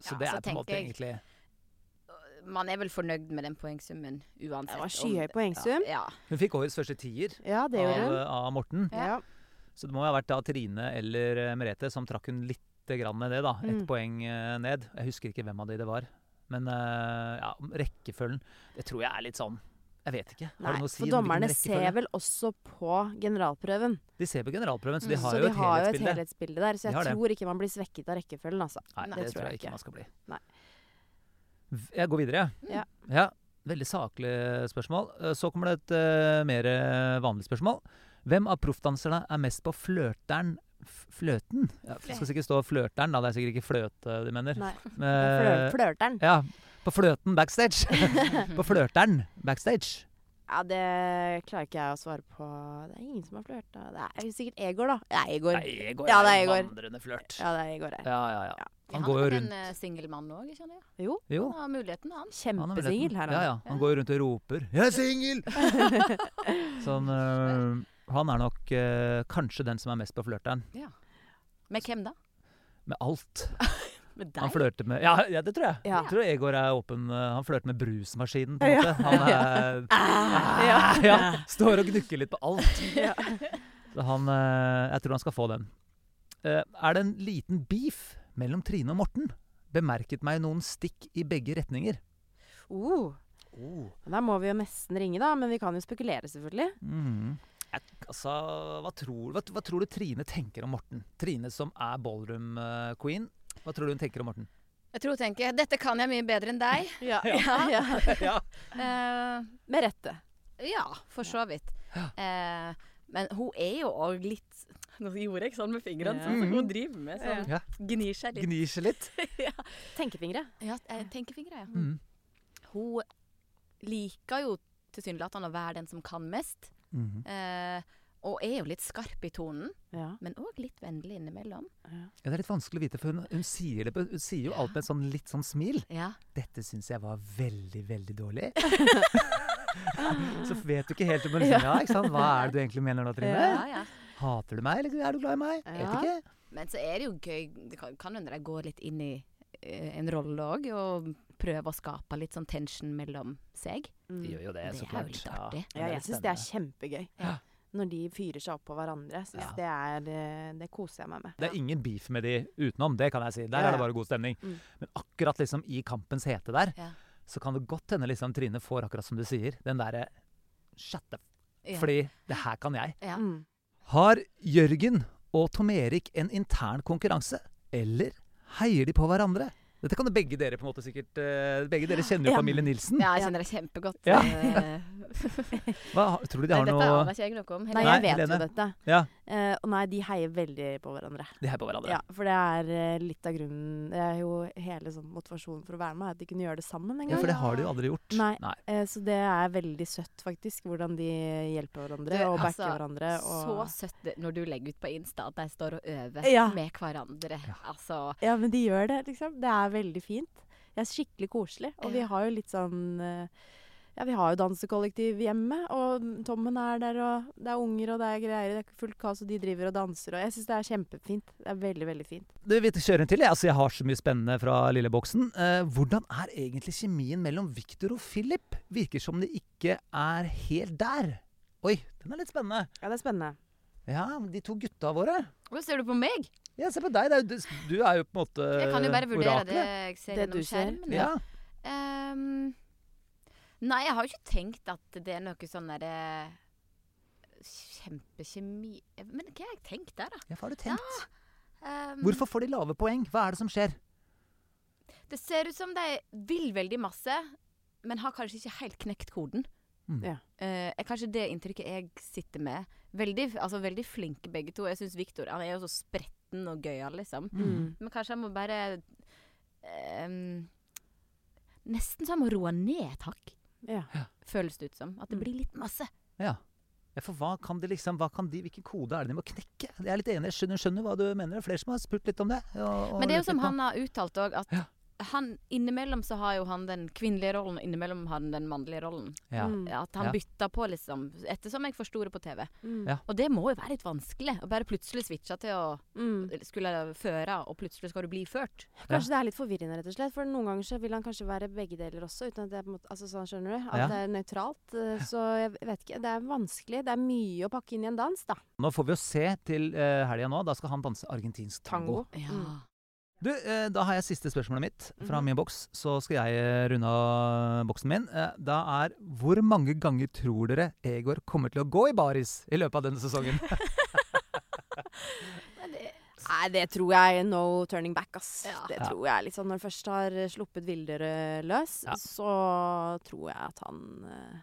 S2: Så
S3: Ja,
S2: det
S3: så
S2: er på en måte
S3: tenker
S2: egentlig
S3: Man er vel fornøyd med den poengsummen uansett.
S1: Det var
S3: om-
S1: skyhøy poengsum.
S3: Ja.
S2: Hun fikk årets første tier
S1: Ja, det
S2: av, eh,
S1: gjorde hun.
S2: av Morten.
S1: Ja.
S3: Ja.
S2: Så det må jo ha vært da Trine eller eh, Merete som trakk hun lite grann ned det, da. Ett
S1: Mm.
S2: poeng eh, ned. Jeg husker ikke hvem av de det var. Men eh, ja, om rekkefølgen Det tror jeg er litt sånn Jeg vet ikke. Har
S1: Nei,
S2: det noe å si
S1: for
S2: om hvilken
S1: dommerne
S2: rekkefølge?
S1: ser vel også på generalprøven.
S2: De ser på generalprøven, så de
S3: Mm.
S2: har
S1: så
S2: jo
S1: de
S2: et
S1: har jo et
S2: helhetsbilde.
S1: helhetsbilde der. Så
S2: De
S1: jeg
S2: har det.
S1: tror ikke man blir svekket av rekkefølgen, altså.
S2: Nei,
S1: Nei,
S2: det tror jeg ikke man skal bli.
S1: Nei.
S2: V- Jeg går videre, jeg.
S1: Ja.
S2: Ja, veldig saklig spørsmål. Eh, Så kommer det et eh, mer eh, vanlig spørsmål. Hvem av proffdanserne er mest på flørteren f- Fløten? Ja, det skal sikkert stå flørteren, da. Det er sikkert ikke fløte de mener.
S1: Nei. Flør,
S2: Men,
S1: flørteren.
S2: Eh, ja, på fløten backstage. på flørteren backstage.
S1: Ja, det klarer ikke jeg å svare på. Det er ingen som har flørta. Det er sikkert Egor, da. Det er Egor.
S2: Nei, Egor
S1: Ja,
S2: er
S1: det er
S2: jo
S1: Egor.
S2: vandrende flørt. Ja,
S1: Ja, det er Egor her.
S2: ja, ja.
S1: Ja.
S2: Han går jo
S3: nok
S2: rundt
S3: en eh, singelmann òg, kjenner jeg.
S2: Jo.
S3: Han har muligheten, han.
S2: Han har muligheten.
S1: Kjempesingel her,
S2: Ja, ja. Han går jo rundt og roper 'Jeg er singel!' sånn øh, Han er nok øh, kanskje den som er mest på flørteren.
S3: Med hvem da?
S2: Med alt.
S3: Med
S2: Han
S3: deg?
S2: flørter med Ja, ja det tror jeg.
S1: Ja.
S2: Jeg tror Egor er åpen. øh, Han flørter med brusmaskinen, på en måte. Han er
S1: Ah, Ja.
S2: ja, Står og gnukker litt på alt.
S1: Ja.
S2: Så han øh, Jeg tror han skal få den. Eh, er det en liten beef mellom Trine og Morten? Bemerket meg noen stikk i begge retninger.
S1: Uh,
S2: Oh.
S1: Men Da må vi jo nesten ringe, da. Men vi kan jo spekulere, selvfølgelig.
S2: Mhm. Jeg, altså, hva tror, hva, hva tror du Trine tenker om Morten? Trine som er ballroom-queen. Hva tror du hun tenker om Morten?
S3: Jeg tror hun tenker dette kan jeg mye bedre enn deg. Ja.
S1: Ja.
S2: ja.
S3: Eh,
S1: Med rette.
S3: ja, for så vidt. Eh, men hun er jo òg litt Nå gjorde jeg ikke sånn med fingrene,
S1: Ja.
S3: sånn som hun driver med. Sånn,
S2: Ja.
S3: Gnir seg litt.
S2: Gnir seg litt.
S1: Tenkefingre.
S3: Ja, jeg tenker fingre, ja.
S2: Mhm.
S3: Hun liker jo tilsynelatende å være den som kan mest.
S2: Mhm.
S3: Eh, og er jo litt skarp i tonen,
S1: Ja.
S3: men òg litt vennlig innimellom.
S2: Ja, det er litt vanskelig å vite, for hun, hun, sier, det, på- hun sier jo alt med et sånn litt sånn smil.
S3: Ja.
S2: 'Dette syns jeg var veldig, veldig dårlig'. Så vet du ikke helt om hun sier ja, ikke sant? Hva er det du egentlig mener nå, Trine?
S3: Ja, ja.
S2: Hater du meg, eller er du glad i meg?
S1: Ja.
S2: Vet ikke.
S3: Men så er det jo gøy Det kan- kan hende de går litt inn i eh, en rolle òg, og prøver å skape litt sånn tension mellom seg.
S1: Mm.
S2: De gjør jo det,
S3: Det
S2: så
S3: er jo
S2: klart.
S3: litt
S2: Ja,
S3: artig.
S2: men
S1: Ja, jeg syns det er
S2: spennende.
S1: kjempegøy.
S2: Ja.
S1: Når de fyrer seg opp på hverandre. Synes
S2: Ja.
S1: det, er, eh, det koser jeg meg med.
S2: Det er ingen beef med de utenom, det kan jeg si. Der
S1: Ja, ja.
S2: er det bare god stemning.
S1: Mm.
S2: Men akkurat liksom i kampens hete der,
S3: Ja.
S2: så kan det godt hende liksom Trine får akkurat som du sier, den derre shut up.
S3: Ja.
S2: Fordi det her kan jeg.
S3: Ja.
S1: Mm.
S2: Har Jørgen og Tom Erik en intern konkurranse, eller heier de på hverandre? Dette kan jo begge dere på en måte sikkert eh, Begge dere kjenner jo
S1: Ja.
S2: familien Nilsen.
S3: Ja, jeg kjenner det kjempegodt.
S2: Ja.
S3: Eh,
S2: Hva, tror du de
S3: Nei,
S2: har
S3: dette
S2: noe
S3: aner ikke jeg noe om.
S1: Nei,
S3: Helene.
S2: Nei,
S1: jeg vet
S2: Helene.
S1: jo dette.
S2: Ja,
S1: Eh, og nei, de heier veldig på hverandre.
S2: de heier på hverandre.
S1: Ja, For det er eh, litt av grunnen Det er jo hele sånn motivasjonen for å være med, er at de kunne gjøre det sammen en
S2: Ja,
S1: gang.
S2: for det har de jo aldri gjort.
S1: Nei.
S2: Nei.
S1: Eh, så det er veldig søtt, faktisk, hvordan de hjelper hverandre
S3: Du,
S1: og backer
S3: altså,
S1: hverandre.
S3: Så
S1: Og...
S3: søtt det- når du legger ut på Insta at de står og øver
S1: Ja.
S3: med hverandre. Altså,
S1: Ja, men de gjør det, liksom. Det er veldig fint. Det er skikkelig koselig. Og vi
S3: Ja.
S1: har jo litt sånn eh, Ja, vi har jo dansekollektiv hjemme, og Tommen er der, og det er unger, og det er greier, det er fullt kaos, og de driver og danser, og jeg syns det er kjempefint. Det er veldig, veldig fint.
S2: Du, vi kjører en til. Jeg, altså, jeg har så mye spennende fra lilleboksen. Eh, hvordan er egentlig kjemien mellom Victor og Philip? Virker som det ikke er helt der. Oi, den er litt spennende.
S1: Ja, det er spennende.
S2: Ja, de to gutta våre.
S3: Hva ser du på meg?
S2: Ja, se på deg. Det er, jo- du- du er jo på en måte
S3: Jeg kan jo bare vurdere det
S2: Eh, oraklet.
S3: jeg ser
S1: Det du
S3: gjennom
S1: ser.
S3: skjermen.
S2: Ja.
S3: Ehm, nei, jeg har jo ikke tenkt at det er noe sånn derre Kjempekjemi Men hva har jeg tenkt der, da?
S2: ja, hva har du tenkt?
S3: Ehm,
S2: Hvorfor får de lave poeng? Hva er det som skjer?
S3: Det ser ut som de vil veldig masse, men har kanskje ikke helt knekt koden.
S2: Mm.
S1: Ja.
S3: Eh, er kanskje det inntrykket jeg sitter med. Veldig, altså, veldig flinke begge to. Jeg syns Viktor er jo så spretten og gøyal, liksom.
S1: Mm.
S3: Men kanskje jeg må bare ehm, Nesten så jeg må roe ned et hakk,
S1: Ja.
S3: føles det ut som. At det
S1: Mm.
S3: blir litt masse.
S2: Ja. ja, for hva kan de liksom hva kan de, Hvilken kode er det de må knekke? Jeg er litt enig, jeg skjønner, skjønner hva du mener. Det er Flere som har spurt litt om det. og- og
S3: Men det er
S2: lurt
S3: jo som
S2: litt på.
S3: han har uttalt òg, at
S2: Ja.
S3: han innimellom så har jo han den kvinnelige rollen, og innimellom har han den mannlige rollen.
S2: ja.
S1: Mm.
S3: Ja, At han
S2: Ja.
S3: bytter på, liksom. Ettersom jeg forsto det på TV.
S1: Mm.
S2: Ja.
S3: Og det må jo være litt vanskelig. Å bare plutselig switche til å
S1: Mm.
S3: skulle føre, og plutselig skal du bli ført.
S1: Kanskje det er litt forvirrende, rett og slett. For noen ganger så vil han kanskje være begge deler også. Uten at det er på en måte, altså sånn skjønner du, at
S2: Ja.
S1: det er nøytralt. eh, Så jeg vet ikke. Det er vanskelig. Det er mye å pakke inn i en dans, da.
S2: Nå får vi jo se til uh, helga nå. Da skal han danse argentinsk tango.
S1: Tango. Mm.
S2: Du, eh, Da har jeg siste spørsmålet mitt fra
S1: Mhm.
S2: min boks. Så skal jeg eh, runde av boksen min. Eh, Da er Hvor mange ganger tror dere Egor kommer til å gå i baris i løpet av denne sesongen?
S1: Nei, det tror jeg er no turning back, ass.
S3: Ja.
S1: Det
S2: Ja.
S1: tror jeg liksom. Når han først har eh, sluppet villdyret løs,
S2: Ja.
S1: så tror jeg at han eh,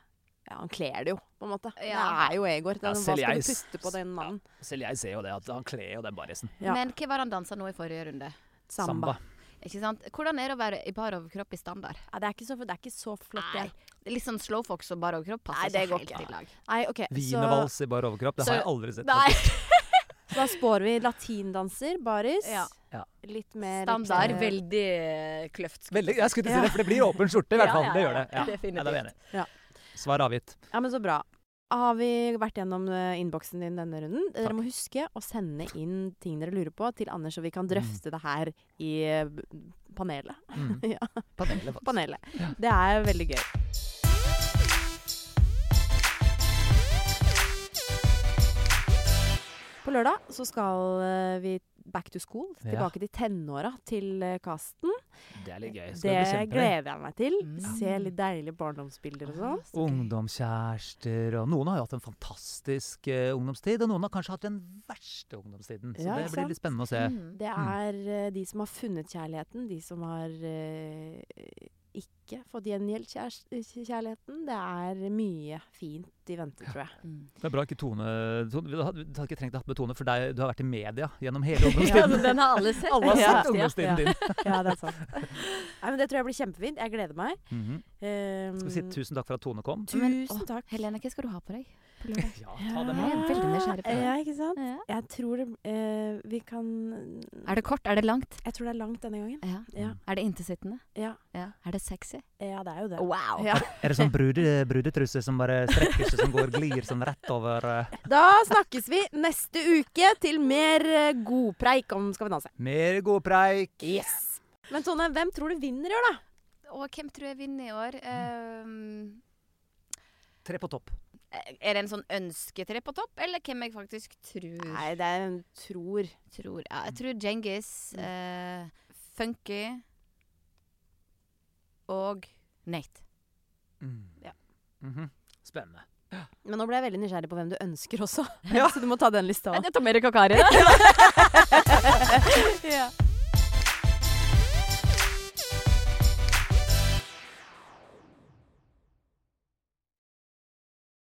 S1: Ja, han kler det jo, på en måte.
S3: Ja.
S1: Det er jo Egor. Det
S2: Ja,
S1: er sånn, hva
S2: selv
S1: skal
S2: jeg
S1: du
S2: s-
S1: putte på den mannen?
S2: Selv jeg ser jo det, at han kler jo den barisen.
S1: Ja.
S3: Men hva var det han dansa nå i forrige runde?
S1: Samba.
S3: Ikke sant? Hvordan er det å være i bar overkropp i standard?
S1: Ja, det, er ikke så, det er ikke så flott, det.
S3: Nei. Det er Litt sånn slowfox og bar overkropp
S1: Nei,
S3: passer
S1: det går
S3: ikke helt
S1: ikke.
S3: i lag.
S1: Nei, OK. Så,
S2: Wienervals i bar overkropp, det
S3: Så-
S2: har jeg aldri sett.
S3: Nei.
S1: så da spår vi latindanser, baris.
S3: Ja.
S2: Ja.
S1: Litt mer
S3: Standard,
S1: eh,
S3: veldig eh, kløft.
S2: Veldig, jeg skulle til å si det, for det blir åpen skjorte i hvert
S3: Ja,
S2: fall.
S3: ja,
S2: Det gjør det.
S3: ja,
S2: Ja,
S3: definitivt.
S2: Nei, da er vi enige.
S1: Ja.
S2: Svar avgitt.
S1: Eh, Ja, men så bra. Har vi vært gjennom eh, innboksen din denne runden? Dere
S2: Takk.
S1: må huske å sende inn ting dere lurer på til Anders, så vi kan drøfte det her i eh, b- panelet.
S2: Mm.
S1: Ja.
S2: Panelet, faktisk.
S1: panelet. Det er veldig gøy. På lørdag så skal eh, vi back to school,
S2: Ja.
S1: tilbake til tenåra til eh, Karsten.
S2: det er litt gøy. Skal
S1: Det
S2: vi bekjempe deg?
S1: gleder jeg meg til.
S3: Mm. Ah.
S1: Se litt deilige barndomsbilder og sånn.
S2: Ungdomskjærester og Noen har jo hatt en fantastisk eh, ungdomstid, og noen har kanskje hatt den verste ungdomstiden. Så
S1: Ja,
S2: det
S1: ikke
S2: blir litt spennende å se.
S3: Mm.
S1: Det er eh, de som har funnet kjærligheten, de som har eh, ikke fått gjengjeldt kjæres- kjærligheten. Det er mye fint i vente, tror jeg.
S3: Mm.
S2: Det er bra ikke Tone Tone- Vi hadde vi hadde ikke trengt å ha med Tone, for deg, du har vært i media gjennom hele
S3: Ja,
S2: ungdomstiden.
S3: men den har alle sett.
S2: Alle har
S1: Ja.
S2: sett ungdomstiden din.
S1: Ja, det er sant. Nei, men det tror jeg blir kjempefint. Jeg gleder meg.
S2: Mhm.
S1: Um,
S2: Skal vi si tusen takk for at Tone kom?
S3: Men-
S1: tusen takk.
S3: Helene, hva skal du ha på deg på lørdag?
S2: Ja, ta det
S3: Jeg
S2: med.
S3: er veldig nysgjerrig på det.
S1: Ja, ikke sant?
S3: Ja.
S1: Jeg tror det eh, Vi kan
S3: Er det kort? Er det langt?
S1: Jeg tror det er langt denne gangen.
S3: Ja.
S1: Ja.
S3: Er det intetsittende?
S1: Ja,
S3: Ja. Er det sexy?
S1: ja det er jo det.
S3: Wow!
S1: Ja.
S2: Er det sånn brude, brudetruse som bare strekker seg, som går glir sånn rett over eh,
S1: Da snakkes vi neste uke til mer eh, godpreik om Skal vi danse.
S2: Mer godpreik!
S1: Yes! Men Tone, hvem tror du vinner i år, da?
S3: Og hvem tror jeg vinner i år? Ehm,
S2: Tre på topp.
S3: er det en sånn ønsketre på topp, eller hvem jeg faktisk tror?
S1: Nei, det er en tror.
S3: tror ja, jeg tror Djengis, eh, Funky og Nate.
S2: Mm.
S3: Ja.
S2: Mhm. Spennende.
S1: Men nå ble jeg veldig nysgjerrig på hvem du ønsker også. Så du må ta den lista
S3: Nei,
S1: òg.
S3: det er Tom Erik og Kari, da. ja.